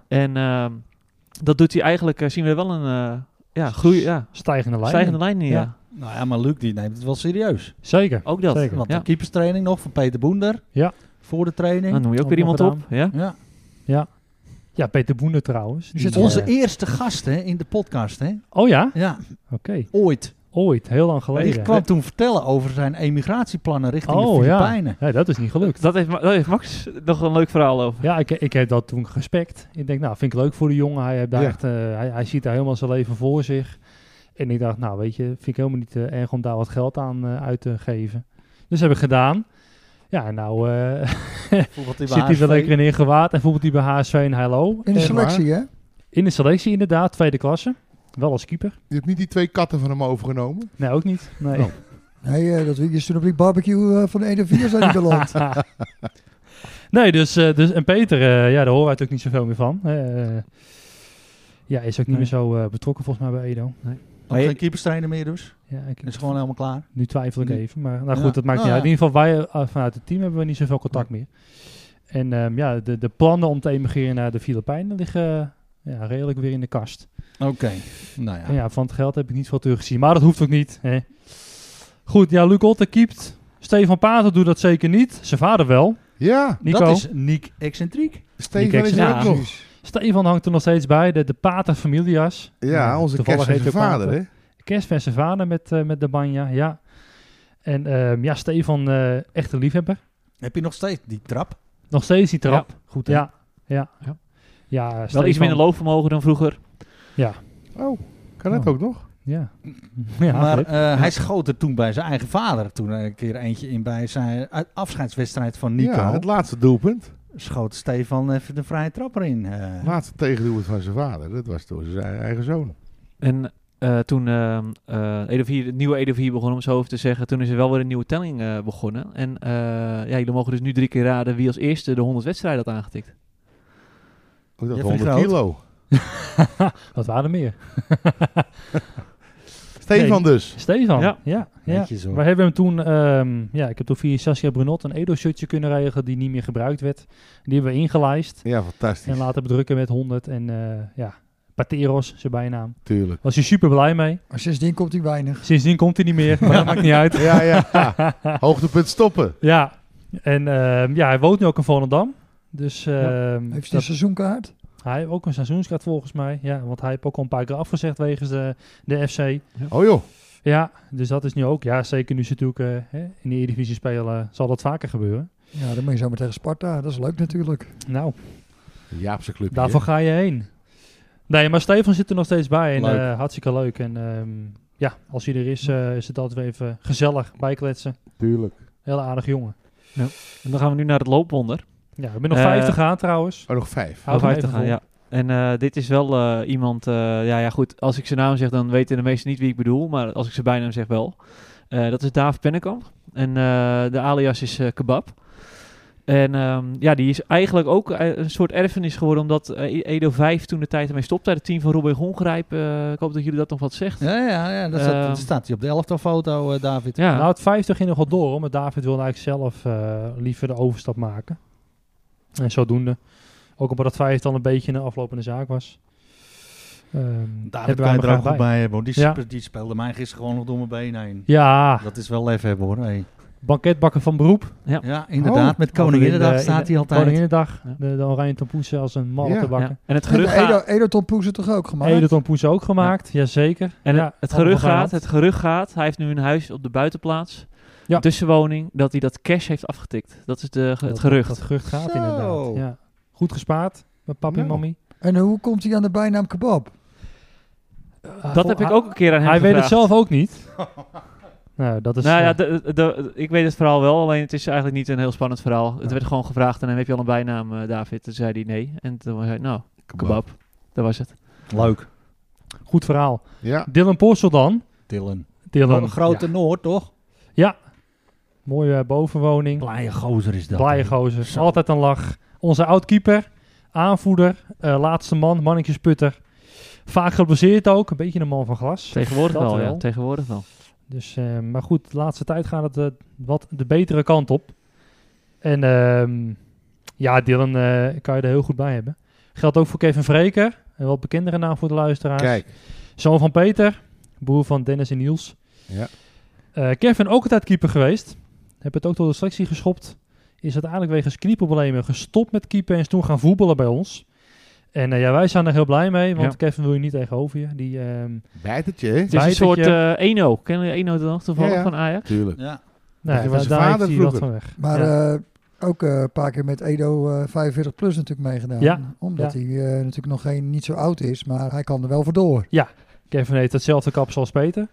En ehm, dat doet hij eigenlijk, eh, zien we wel een eh, ja, groei, ja, Stijgende lijn. stijgende lijn in. Ja. Ja. Nou ja, maar Luc die neemt het wel serieus. Zeker. Ook dat. Zeker. Ja. Want de keeperstraining nog van Peter Boender. Ja. voor de training. Nou, Dan noem je ook Ook weer nog iemand op. Ja? Ja. Ja, Peter Boende trouwens. Dus Die, het onze eh, eerste gast hè, in de podcast, hè? Oh ja? Ja, Oké. ooit. Ooit, heel lang geleden. Ik kwam toen vertellen over zijn emigratieplannen richting de oh ja. Filipijnen. Nee, dat is niet gelukt. Dat heeft, Ma- daar heeft Max nog een leuk verhaal over. Ja, ik, ik heb dat toen gespekt. Ik denk, nou, vind ik leuk voor de jongen. Hij, heeft daar Ja. echt, eh, hij, hij ziet daar helemaal zijn leven voor zich. En ik dacht, nou, weet je, vind ik helemaal niet eh, erg om daar wat geld aan eh, uit te geven. Dus heb ik gedaan. Ja, en nou eh, Bijvoorbeeld in *laughs* zit hij HSV. wel lekker in ingewaard en voetbalt hij bij HSV in Heilo. In de En- selectie, hè? Eh, in de selectie inderdaad, tweede klasse. Wel als keeper. Je hebt niet die twee katten van hem overgenomen? Nee, ook niet. Nee. *laughs* Oh. Nee, eh, dat, je is toen op die barbecue eh, van de 1 en *laughs* 4 zijn die beland. Ah. nee, dus, eh, dus en Peter, eh, ja, daar horen we natuurlijk niet zoveel meer van. Eh, ja, is ook niet Nee. meer zo eh, betrokken volgens mij bij Edo. Ook geen keeperstrainer meer dus. Ja, ik, Is gewoon helemaal klaar. Nu twijfel ik Nu- even, maar nou Ja. goed, dat maakt Nou niet uit. ja. In ieder geval, wij eh, vanuit het team hebben we niet zoveel contact meer. En ehm, ja, de, de plannen om te emigreren naar de Filipijnen liggen eh, ja, redelijk weer in de kast. Oké. Nou ja. En ja, van het geld heb ik niet veel teruggezien, maar dat hoeft ook niet. Hè. Goed, ja, Luc Otte keept. Stefan Pater doet dat zeker niet. Zijn vader wel, Ja, Nico. Dat is Niek excentriek. Stefan is er Ja, ook nog. Stefan hangt er nog steeds bij, de, de Pater familias. Ja, onze toevallig heet kerstverse hij ook vader, Pater. hè? Kerstverse vader met, eh, met de banja, ja. En ehm, ja, Stefan, eh echt een liefhebber. Heb je nog steeds die trap? Nog steeds die trap. Goed hè? Ja, ja. Ja. ja. Wel iets Stefan. minder loopvermogen dan vroeger. Ja, Oh, kan dat Oh. ook nog? ja. ja maar Flip. eh, hij schoot er toen bij zijn eigen vader toen eh, een keer eentje in bij zijn eh, uit- afscheidswedstrijd van Nico. Ja, het laatste doelpunt. Schoot Stefan even de vrije trapper in. eh. Het laatste tegendoelpunt van zijn vader. Dat was door zijn eigen zoon. En eh, toen ehm eh, Edo 4, het nieuwe Edo 4 begon om zijn hoofd te zeggen, toen is er wel weer een nieuwe telling eh, begonnen. En eh, ja, jullie mogen dus nu drie keer raden wie als eerste de 100 wedstrijden had aangetikt. Ook dat Jeffrey 100 Groot. kilo. Wat waren er meer? Stefan dus. Stefan. Ja. Ja, ja. Netjes, hoor. We hebben hem toen, ehm, ja, ik heb toen via Saskia Brunot een Edo-shirtje kunnen regelen die niet meer gebruikt werd. Die hebben we ingelijst Ja, fantastisch. en laten bedrukken met 100. En eh, ja, Pateros, zijn bijnaam. Tuurlijk. Was hij super blij mee. Maar sindsdien komt hij weinig. Sindsdien komt hij niet meer, maar dat maakt niet uit. Ja, *laughs* ja. Hoogtepunt stoppen. Ja, en ehm, ja, hij woont nu ook in Volendam. Dus ehm, Heeft hij een dat- seizoenkaart? hij heeft ook een seizoenskaart volgens mij. Ja, want hij heeft ook al een paar keer afgezegd wegens de, de FC. Oh joh. Ja, dus dat is nu ook. Ja, zeker nu ze natuurlijk eh, hè, in de Eredivisie spelen, eh, zal dat vaker gebeuren. Ja, dan moet je zomaar tegen Sparta. Dat is leuk natuurlijk. *laughs* Nou, Jaap zijn clubje. daarvoor ga je heen. Nee, maar Stefan zit er nog steeds bij en Leuk. eh, hartstikke leuk. En ehm, ja, als hij er is, eh, is het altijd weer even gezellig bijkletsen. hè? Tuurlijk. Heel aardig jongen. En dan gaan we nu naar het loopwonder. Ja, ik ben nog Eh, 50 aan trouwens. Oh, nog vijf. Houd Om hem uit te even gaan, vol. ja. En eh, dit is wel eh, iemand, eh, ja, ja goed, als ik zijn naam zeg dan weten de meesten niet wie ik bedoel, maar als ik zijn bijnaam zeg wel. Eh, dat is Daaf Pennekamp en eh, de alias is eh, Kebab. En ehm, ja, die is eigenlijk ook eh, een soort erfenis geworden, omdat eh, Edo 5 toen de tijd ermee stopte uit het team van Robin Gongrijp. Eh, ik hoop dat jullie dat nog wat zegt. Ja, ja, ja dat Ehm. staat, dat staat hij op de elftalfoto, foto, eh, David. Ja. Nou, het 50 ging nog wel door, hoor, maar David wilde eigenlijk zelf eh, liever de overstap maken. En zodoende. Ook omdat het 50 dan een beetje een aflopende zaak was. Ehm, David hebben kan wij je hem er ook graag goed bij hebben. hoor. Die, Ja. spe- die speelde mij gisteren gewoon nog door mijn benen heen. Ja, Dat is wel even hebben hoor. Hey. banketbakken van beroep. Oh. Ja, inderdaad. met Koninginnedag eh, staat hij altijd. Koninginnedag, Ja. de, de oranje tompoes als een malle Ja. te Ja. bakken. En het En de gerucht Edo, gaat, Edo Tom Poes het toch ook gemaakt? Ede tompoes ook gemaakt, jazeker. en ja, het, het allemaal gerucht gaat, gemaakt. het gerucht gaat, hij heeft nu een huis op de buitenplaats, Ja. een tussenwoning, dat hij dat cash heeft afgetikt. Dat is de, Dat- het gerucht. Dat, gerucht gaat Zo. inderdaad. Ja. Goed gespaard met papi en Nou. mami. En eh, hoe komt hij aan de bijnaam kebab? Dat heb ik ook een keer aan hem Ah, oh, Hij weet het gevraagd. zelf ook niet. *laughs* nou, dat is... nou ja, eh, de- de- de- ik weet het verhaal wel, alleen het is eigenlijk niet een heel spannend verhaal. Het Ja. werd gewoon gevraagd aan hem, heb je al een bijnaam, eh, David? Toen zei hij nee. En toen zei hij, nou, Kebab. kebab. Dat was het. Leuk. goed verhaal. Ja. Dylan Porsel dan. Dylan. Dylan. Van Grote Ja. Noord, toch? Mooie eh, bovenwoning. Blije gozer is dat. Blije hè. gozer. Zo. Altijd een lach. Onze oud-keeper. Aanvoerder. eh, laatste man. Mannetjesputter. Vaak geblesseerd ook. Een beetje een man van glas. Tegenwoordig Dat wel, ja. wel. Tegenwoordig wel. Dus, eh, maar goed, de laatste tijd gaat het eh, wat de betere kant op. En ehm, ja, Dylan eh, kan je er heel goed bij hebben. Geldt ook voor Kevin Vreker. Een wat bekendere naam voor de luisteraars. Kijk. Zoon van Peter, broer van Dennis en Niels. Ja. Eh, Kevin ook altijd keeper geweest. Heb het ook tot de selectie geschopt. is uiteindelijk wegens knieproblemen gestopt met keeper en is toen gaan voetballen bij ons. En eh, ja, wij zijn er heel blij mee, want Ja. Kevin wil je niet tegenover je. Die, ehm, Bijtertje, hè? Het is een soort Bijtetje. eh, Eno. Kennen jullie Eno dan nog toevallig Ja, ja. van Ajax? Tuurlijk. Ja. nou, je ja, was daar, je daar vader heeft hij wat vroeger. van weg. Maar Ja. eh, ook eh, een paar keer met Edo eh, 45 plus natuurlijk meegedaan. Ja, Omdat ja. hij eh, natuurlijk nog geen, niet zo oud is, maar hij kan er wel voor door. Kevin heeft hetzelfde kapsel als Peter.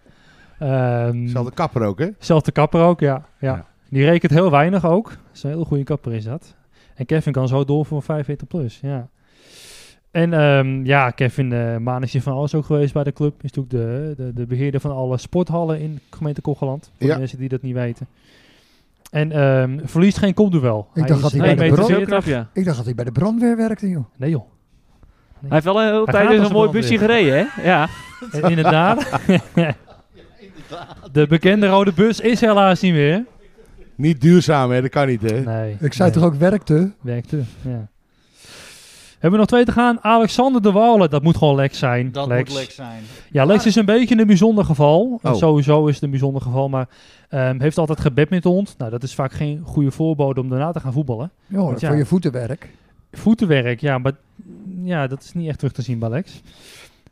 Ehm, Zelfde kapper ook, hè? Zelfde kapper ook, ja. ja. Ja. Die rekent heel weinig ook. Dat is een heel goede kapper is dat. En Kevin kan zo door voor 45 plus, ja. En ehm, ja, Kevin eh Maan is hier van alles ook geweest bij de club. Is natuurlijk de, de, de beheerder van alle sporthallen in gemeente Kocheland. Voor Ja. de mensen die dat niet weten. En ehm, verliest geen kopduel. Ik dacht dat hij bij de meter brand- 1,40 ja. Ik dacht dat hij bij de brandweer werkte, joh. Nee joh. Hij heeft wel een hele Hij tijd gaat dus als een een mooi busje gereden, hè? Ja. En *laughs* inderdaad. *laughs* de bekende rode bus is helaas niet meer. Niet duurzaam, hè? Dat kan niet, hè? Nee. Ik zei nee. toch ook werkte? Werkte, ja. Hebben we nog twee te gaan? Alexander de Walen, dat moet gewoon Lex zijn. Dat Lex. moet lek zijn. Ja, Lex is een beetje een bijzonder geval. Oh. Sowieso is het een bijzonder geval, maar ehm, heeft altijd gebadmintond. Nou, dat is vaak geen goede voorbode om daarna te gaan voetballen. Joh, Want ja. voor je voetenwerk. Voetenwerk, ja, maar ja, dat is niet echt terug te zien bij Lex.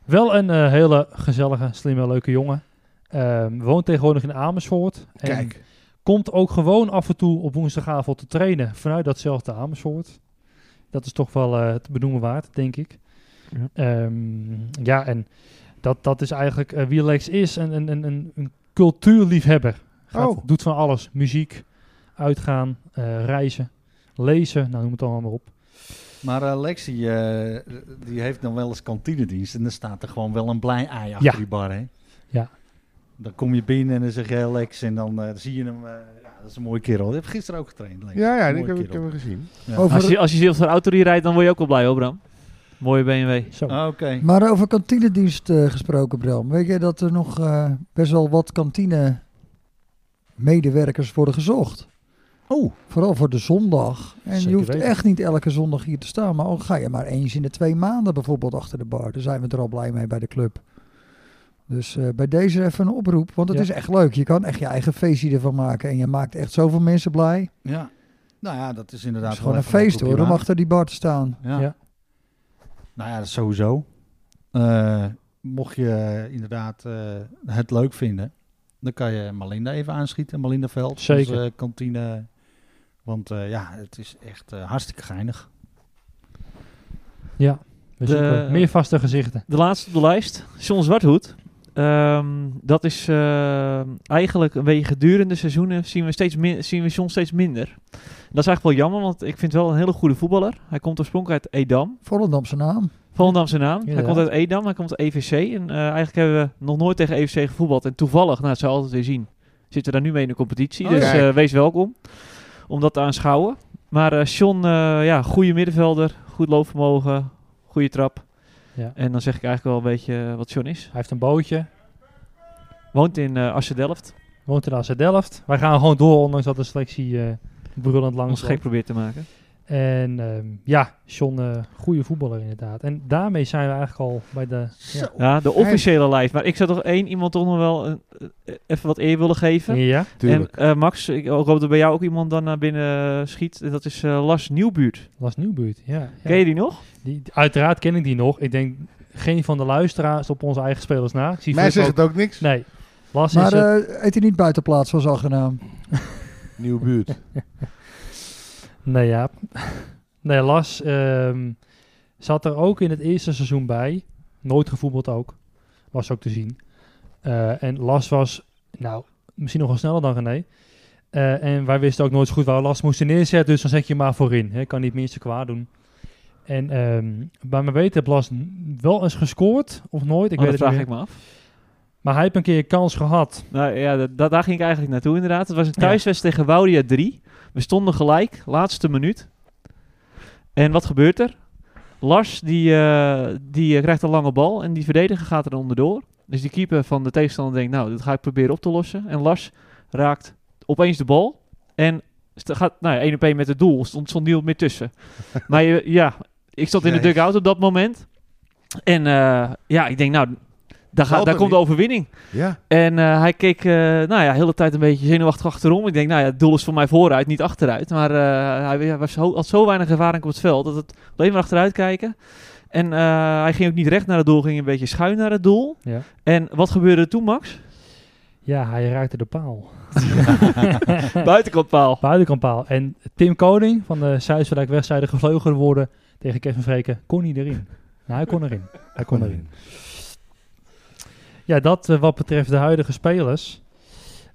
Wel een eh, hele gezellige, slimme, leuke jongen. Ehm, woont tegenwoordig in Amersfoort. En Kijk. komt ook gewoon af en toe op woensdagavond te trainen vanuit datzelfde Amersfoort. Dat is toch wel eh te benoemen waard, denk ik. Ja. Ja, ja en dat, dat is eigenlijk eh, wie Lex is, een, een, een- een, een cultuurliefhebber. Gaat, Oh. Doet van alles, muziek, uitgaan, eh, reizen, lezen, nou noem het allemaal maar op. Maar eh, Lexi, eh, die heeft dan wel eens kantinedienst. En dan staat er gewoon wel een blij ei achter Ja. die bar, hè? Ja. Dan kom je binnen en dan zeg je hey, Lex. En dan eh, zie je hem. eh, ja, dat is een mooie kerel. Ik heb gisteren ook getraind, Lex. Ja, ja, Mooie ik heb, ik kerel. heb hem gezien. Over, Als je, als je zelf zo'n auto hier rijdt, dan word je ook wel blij hoor, Bram. Mooie BMW. Zo. Ah, Oké. Maar over kantinedienst eh, gesproken, Bram. Weet je dat er nog eh, best wel wat kantine-medewerkers worden gezocht? Oh, Vooral voor de zondag. En Zeker je hoeft weten. echt niet elke zondag hier te staan. Maar al ga je maar eens in de twee maanden bijvoorbeeld achter de bar. Dan zijn we er al blij mee bij de club. Dus eh, bij deze even een oproep. Want het Ja. is echt leuk. Je kan echt je eigen feestje ervan maken. En je maakt echt zoveel mensen blij. Het ja. Nou ja, dat is inderdaad. is gewoon wel een even feest kopje hoor. Om water. achter die bar te staan. Ja. Ja. Nou ja, dat is sowieso. Eh, mocht je inderdaad eh, het leuk vinden, dan kan je Malinda even aanschieten. Malinda Veld, Zeker. onze kantine. Want eh, ja, het is echt eh, hartstikke geinig. Ja, we De- zoeken meer vaste gezichten. De laatste op de lijst, John Zwarthoed. Ehm, dat is ehm, eigenlijk een beetje gedurende seizoenen zien we, steeds min- zien we John steeds minder. Dat is eigenlijk wel jammer, want ik vind het wel een hele goede voetballer. Hij komt oorspronkelijk uit Edam. Volendam zijn naam. Volendam zijn naam. Hij Inderdaad. komt uit Edam, hij komt uit EVC. En eh, eigenlijk hebben we nog nooit tegen EVC gevoetbald. En toevallig, nou het zou altijd weer zien, zitten we daar nu mee in de competitie. Oh, dus kijk. eh, wees welkom om dat te aanschouwen. Maar eh John, eh, ja, goede middenvelder, goed loopvermogen, goede trap. Ja. En dan zeg ik eigenlijk wel een beetje eh, wat John is. Hij heeft een bootje, Woont in eh Assen Delft. woont in AZ Delft. Wij gaan gewoon door, ondanks dat de selectie eh brullend Ons langs gek probeert te maken. En ehm, ja, John, eh goede voetballer inderdaad. En daarmee zijn we eigenlijk al bij de... Ja. Ja, de officiële lijst. Maar ik zou toch één iemand toch nog wel een, eh, even wat eer willen geven. Ja. Tuurlijk. En eh, Max, ik hoop dat er bij jou ook iemand dan naar binnen schiet. Dat is eh, Lars Nieuwbuurt. Lars Nieuwbuurt. Ja, ja. Ken je die nog? Oh, Die, uiteraard ken ik die nog. Ik denk geen van de luisteraars op onze eigen spelers na. Ik zie Mij Flip zegt ook- het ook niks. Nee. Lars Maar is het. eh eet hij niet buiten plaats van zijn achternaam. Nieuwe buurt. Nee, Jaap. *laughs* nee, Lars ehm, zat er ook in het eerste seizoen bij. Nooit gevoetbald ook. Was ook te zien. Eh, en Lars was, nou, misschien nog wel sneller dan René. Eh, en wij wisten ook nooit zo goed waar we Lars moesten neerzetten. Dus dan zet je hem maar voorin. Hè. Kan niet het minste kwaad doen. En ehm, bij mijn weten heb Lars n- wel eens gescoord. Of nooit. Ik Oh, weet dat het niet vraag meer. ik me af. Maar hij heeft een keer kans gehad. Nou ja, dat- dat- daar ging ik eigenlijk naartoe inderdaad. Het was een Ja. thuiswedstrijd tegen Woudia 3. We stonden gelijk, laatste minuut. En wat gebeurt er? Lars die, eh, die eh, krijgt een lange bal en die verdediger gaat er onderdoor. Dus die keeper van de tegenstander denkt, nou, dat ga ik proberen op te lossen. En Lars raakt opeens de bal en st- gaat, nou ja, 1 op 1 met het doel. Stond, stond niemand meer *laughs* tussen. maar je- ja, ik stond in de Jezus. dugout op dat moment. En eh, ja, ik denk, nou, Daar, gaat, Zal daar toch komt de niet? overwinning. Ja, En eh, hij keek eh nou ja, de hele tijd een beetje zenuwachtig achterom. Ik denk, nou ja, het doel is voor mij vooruit, niet achteruit. Maar eh, hij, hij was, zo- had zo weinig ervaring op het veld dat het alleen maar achteruit kijken. En eh, hij ging ook niet recht naar het doel, ging een beetje schuin naar het doel. Ja. En wat gebeurde er toen, *laughs* Max? Ja, hij raakte de paal. Buitenkantpaal. Buitenkant paal. En Tim Koning van de Zuid-West westzijde gevleugeld worden tegen Kevin Vreken kon niet erin. Nou, hij kon erin. *laughs* Hij kon erin. Ja, dat eh, wat betreft de huidige spelers.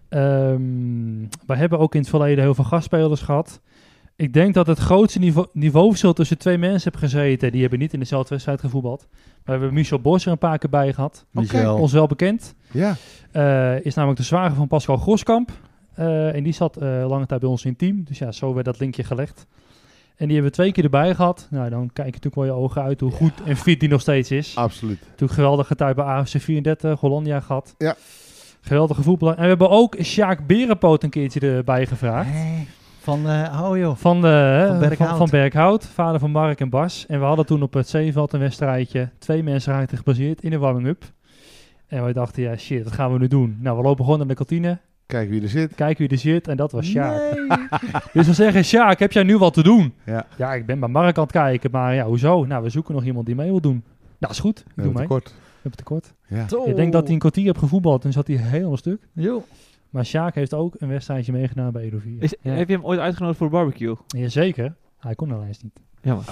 Ehm, we hebben ook in het verleden heel veel gastspelers gehad. Ik denk dat het grootste niveau, niveauverschil tussen twee mensen heb gezeten. Die hebben niet in dezelfde wedstrijd gevoetbald. Maar we hebben Michel Bos er een paar keer bij gehad. Michel. Ons wel bekend. ja. Eh, is namelijk de zwager van Pascal Groskamp. Eh, en die zat eh, lange tijd bij ons in het team. Dus ja, zo werd dat linkje gelegd. En die hebben we twee keer erbij gehad. Nou, dan kijk je natuurlijk wel je ogen uit hoe goed en fit die nog steeds is. absoluut. Natuurlijk geweldige tijd bij AFC 34, Hollandia gehad. Ja. Geweldige voetballer. En we hebben ook Sjaak Berenpoot een keertje erbij gevraagd. Nee, Van, eh oh joh. Van, de, Van van, Berkhout. van, Berkhout, vader van Mark en Bas. En we hadden toen op het Zeeveld een wedstrijdje. Twee mensen raakten gebaseerd in de warming-up. En we dachten, ja shit, wat gaan we nu doen? Nou, we lopen gewoon naar de kantine, Kijk wie er zit. kijken wie er zit. En dat was Sjaak. *laughs* Dus we zeggen, Sjaak, heb jij nu wat te doen? Ja. ja, ik ben bij Mark aan het kijken, maar ja, hoezo? Nou, we zoeken nog iemand die mee wil doen. Nou, is goed, ik doe Heel mee. kort. We hebben tekort. Ja. Ik denk dat hij een kwartier heeft gevoetbald en zat hij helemaal stuk. Joh. Maar Sjaak heeft ook een wedstrijdje meegedaan bij Edo 4. Is- Heb je hem ooit uitgenodigd voor barbecue? Jazeker. Hij kon helaas niet. Jammer.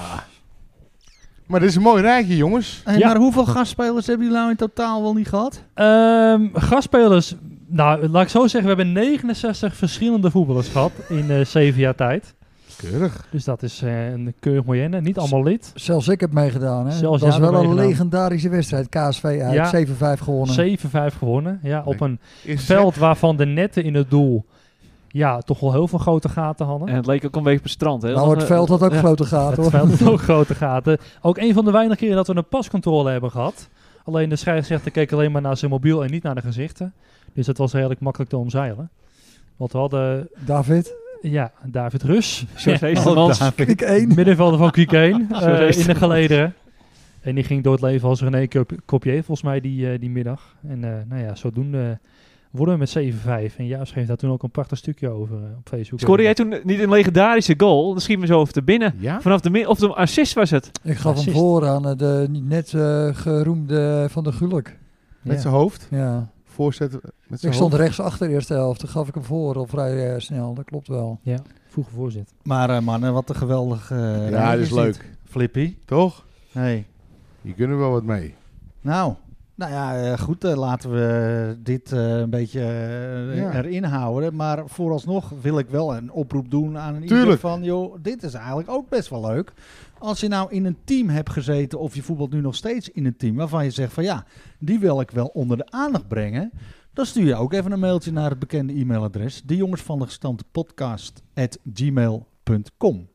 Maar dit is een mooi rijtje, jongens. Hey, Ja. Maar hoeveel gastspelers hebben jullie nou in totaal wel niet gehad? Ehm gastspelers. Nou, laat ik zo zeggen. We hebben 69 verschillende voetballers gehad in eh, zeven jaar tijd. Keurig. Dus dat is eh, een keurig moyenne. Niet allemaal lid. Zelfs ik heb meegedaan. Hè? Zelfs dat jij was wel hebt een meegedaan. legendarische wedstrijd. KSV Ja. uit, 7-5 gewonnen. 7-5 gewonnen. Ja, op een Is veld waarvan de netten in het doel... Ja, toch wel heel veel grote gaten hadden. En het leek ook een beetje op het strand. Hè? Dat nou, was het een- veld had ook ja. grote gaten. eh, Het Hoor. veld had ook grote gaten. Ook een van de weinige keren dat we een pascontrole hebben gehad. Alleen de scheidsrechter keek alleen maar naar zijn mobiel en niet naar de gezichten. Dus dat was redelijk makkelijk te omzeilen. Want we hadden, *laughs* David, ja, David Rus, George Heestermans. ik *laughs* één. middenvelder van Kikeen, Zo is in de het. gelederen. En die ging door het leven als René Cop- Copier, volgens mij, die, eh, die middag. En eh, nou ja, zodoende worden we met 7-5. En Jaap schreef daar toen ook een prachtig stukje over eh, op Facebook. Scoorde jij toen niet een legendarische goal? Dan schiet me zo over te binnen. Ja? Vanaf de min of de assist was het. Ik gaf hem Racist. voor aan eh, de niet net eh, geroemde Van der Gulik. Met Ja. zijn hoofd. Ja. Voorzet met zijn Ik stond hoofd. rechts achter de eerste helft. Toen gaf ik hem voor al vrij eh, snel. Dat klopt wel. Ja, vroege voorzit. Maar eh, mannen, wat een geweldig... eh, Ja, dit is dit. leuk. Flippy. Toch? Hey. Hier kunnen we wel wat mee. Nou, nou ja, eh, goed, eh, laten we dit eh, een beetje eh, Ja. erin houden. Maar vooralsnog wil ik wel een oproep doen aan een ieder Tuurlijk. van... joh, dit is eigenlijk ook best wel leuk. Als je nou in een team hebt gezeten of je voetbalt nu nog steeds in een team... waarvan je zegt van ja, die wil ik wel onder de aandacht brengen... dan stuur je ook even een mailtje naar het bekende e-mailadres... de jongens van de gestampte podcast at gmail.com.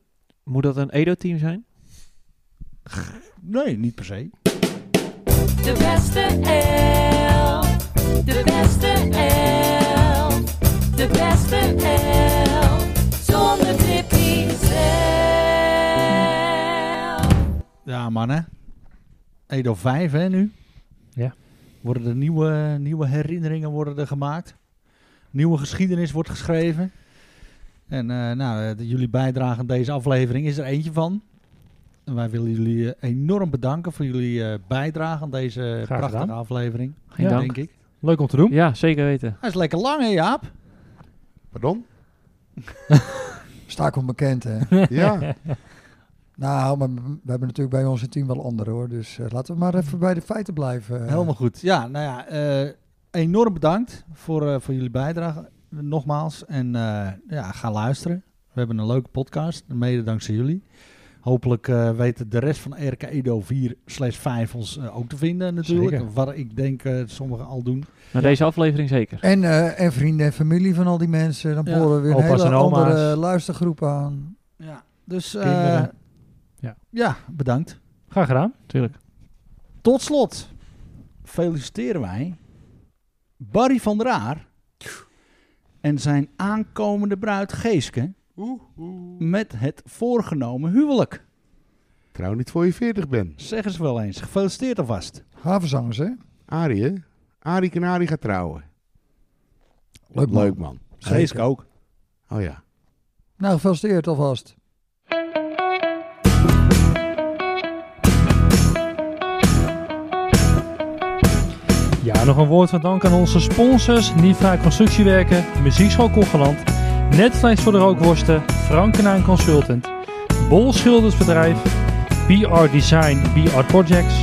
Moet dat een Edo-team zijn? Nee, niet per se. De beste elf. De beste elf. De beste elf. Zonder Tippy zelf. Ja, mannen. Edo 5, hè, nu? Ja. Worden er nieuwe, nieuwe herinneringen worden er gemaakt. Nieuwe geschiedenis wordt geschreven. En eh, nou, eh, de- jullie bijdrage aan deze aflevering is er eentje van. En wij willen jullie eh, enorm bedanken voor jullie eh, bijdrage aan deze prachtige gedaan. aflevering. Geen Ja. dank. Denk ik. Leuk om te doen. Ja, zeker weten. Hij is lekker lang, hè, Jaap? Pardon? Sta ik onbekend, *laughs* hè? Ja. nou, maar we hebben natuurlijk bij ons in team wel anderen, hoor. Dus eh, laten we maar even bij de feiten blijven. eh. Helemaal goed. Ja, nou ja, eh, enorm bedankt voor, eh, voor jullie bijdrage nogmaals. En eh, ja, ga luisteren. We hebben een leuke podcast, mede dankzij jullie. Hopelijk eh, weten de rest van RK Edo 4 5 ons eh, ook te vinden natuurlijk. Zeker. Wat ik denk eh, sommigen al doen. Na deze aflevering zeker. En, eh, en vrienden en familie van al die mensen. Dan Ja. boren we weer een Opa's en hele oma's. andere luistergroep aan. Ja, dus eh, Kinderen. ja. Ja. bedankt. Graag gedaan. Tuurlijk. Tot slot feliciteren wij Barry van der Aar en zijn aankomende bruid Geeske met het voorgenomen huwelijk. Trouw niet voor je 40 bent. Zeg eens wel eens. Gefeliciteerd alvast. Havenzangers, hè? Arie, hè? Arie Canari gaat trouwen. Leuk man. Leuk man. Zeker. ook. Oh ja. Nou, gefeliciteerd alvast. Ja, nog een woord van dank aan onze sponsors: Niva Constructiewerken, Muziekschool Kocheland, Netflix voor de Rookworsten, Frank Knijn Consultant, Bol Schildersbedrijf, BR Design, BR Projects,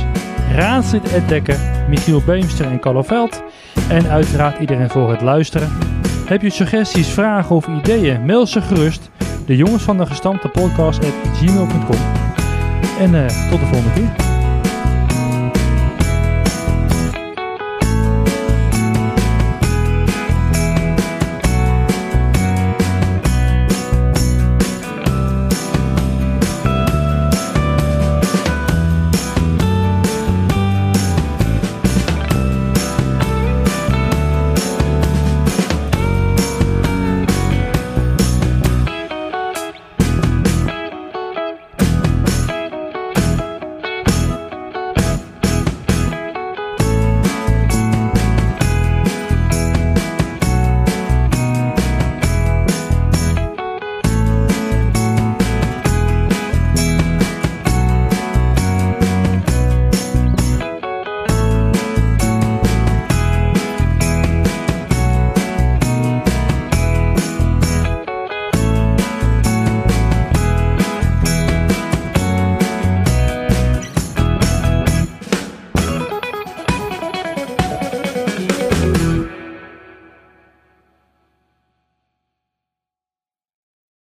Raadslid Ed Dekker, Michiel Beemster en Carlo Veld. En uiteraard iedereen voor het luisteren. Heb je suggesties, vragen of ideeën? Mail ze gerust. De jongens van de gestampte podcast at gmail.com. En eh, tot de volgende keer.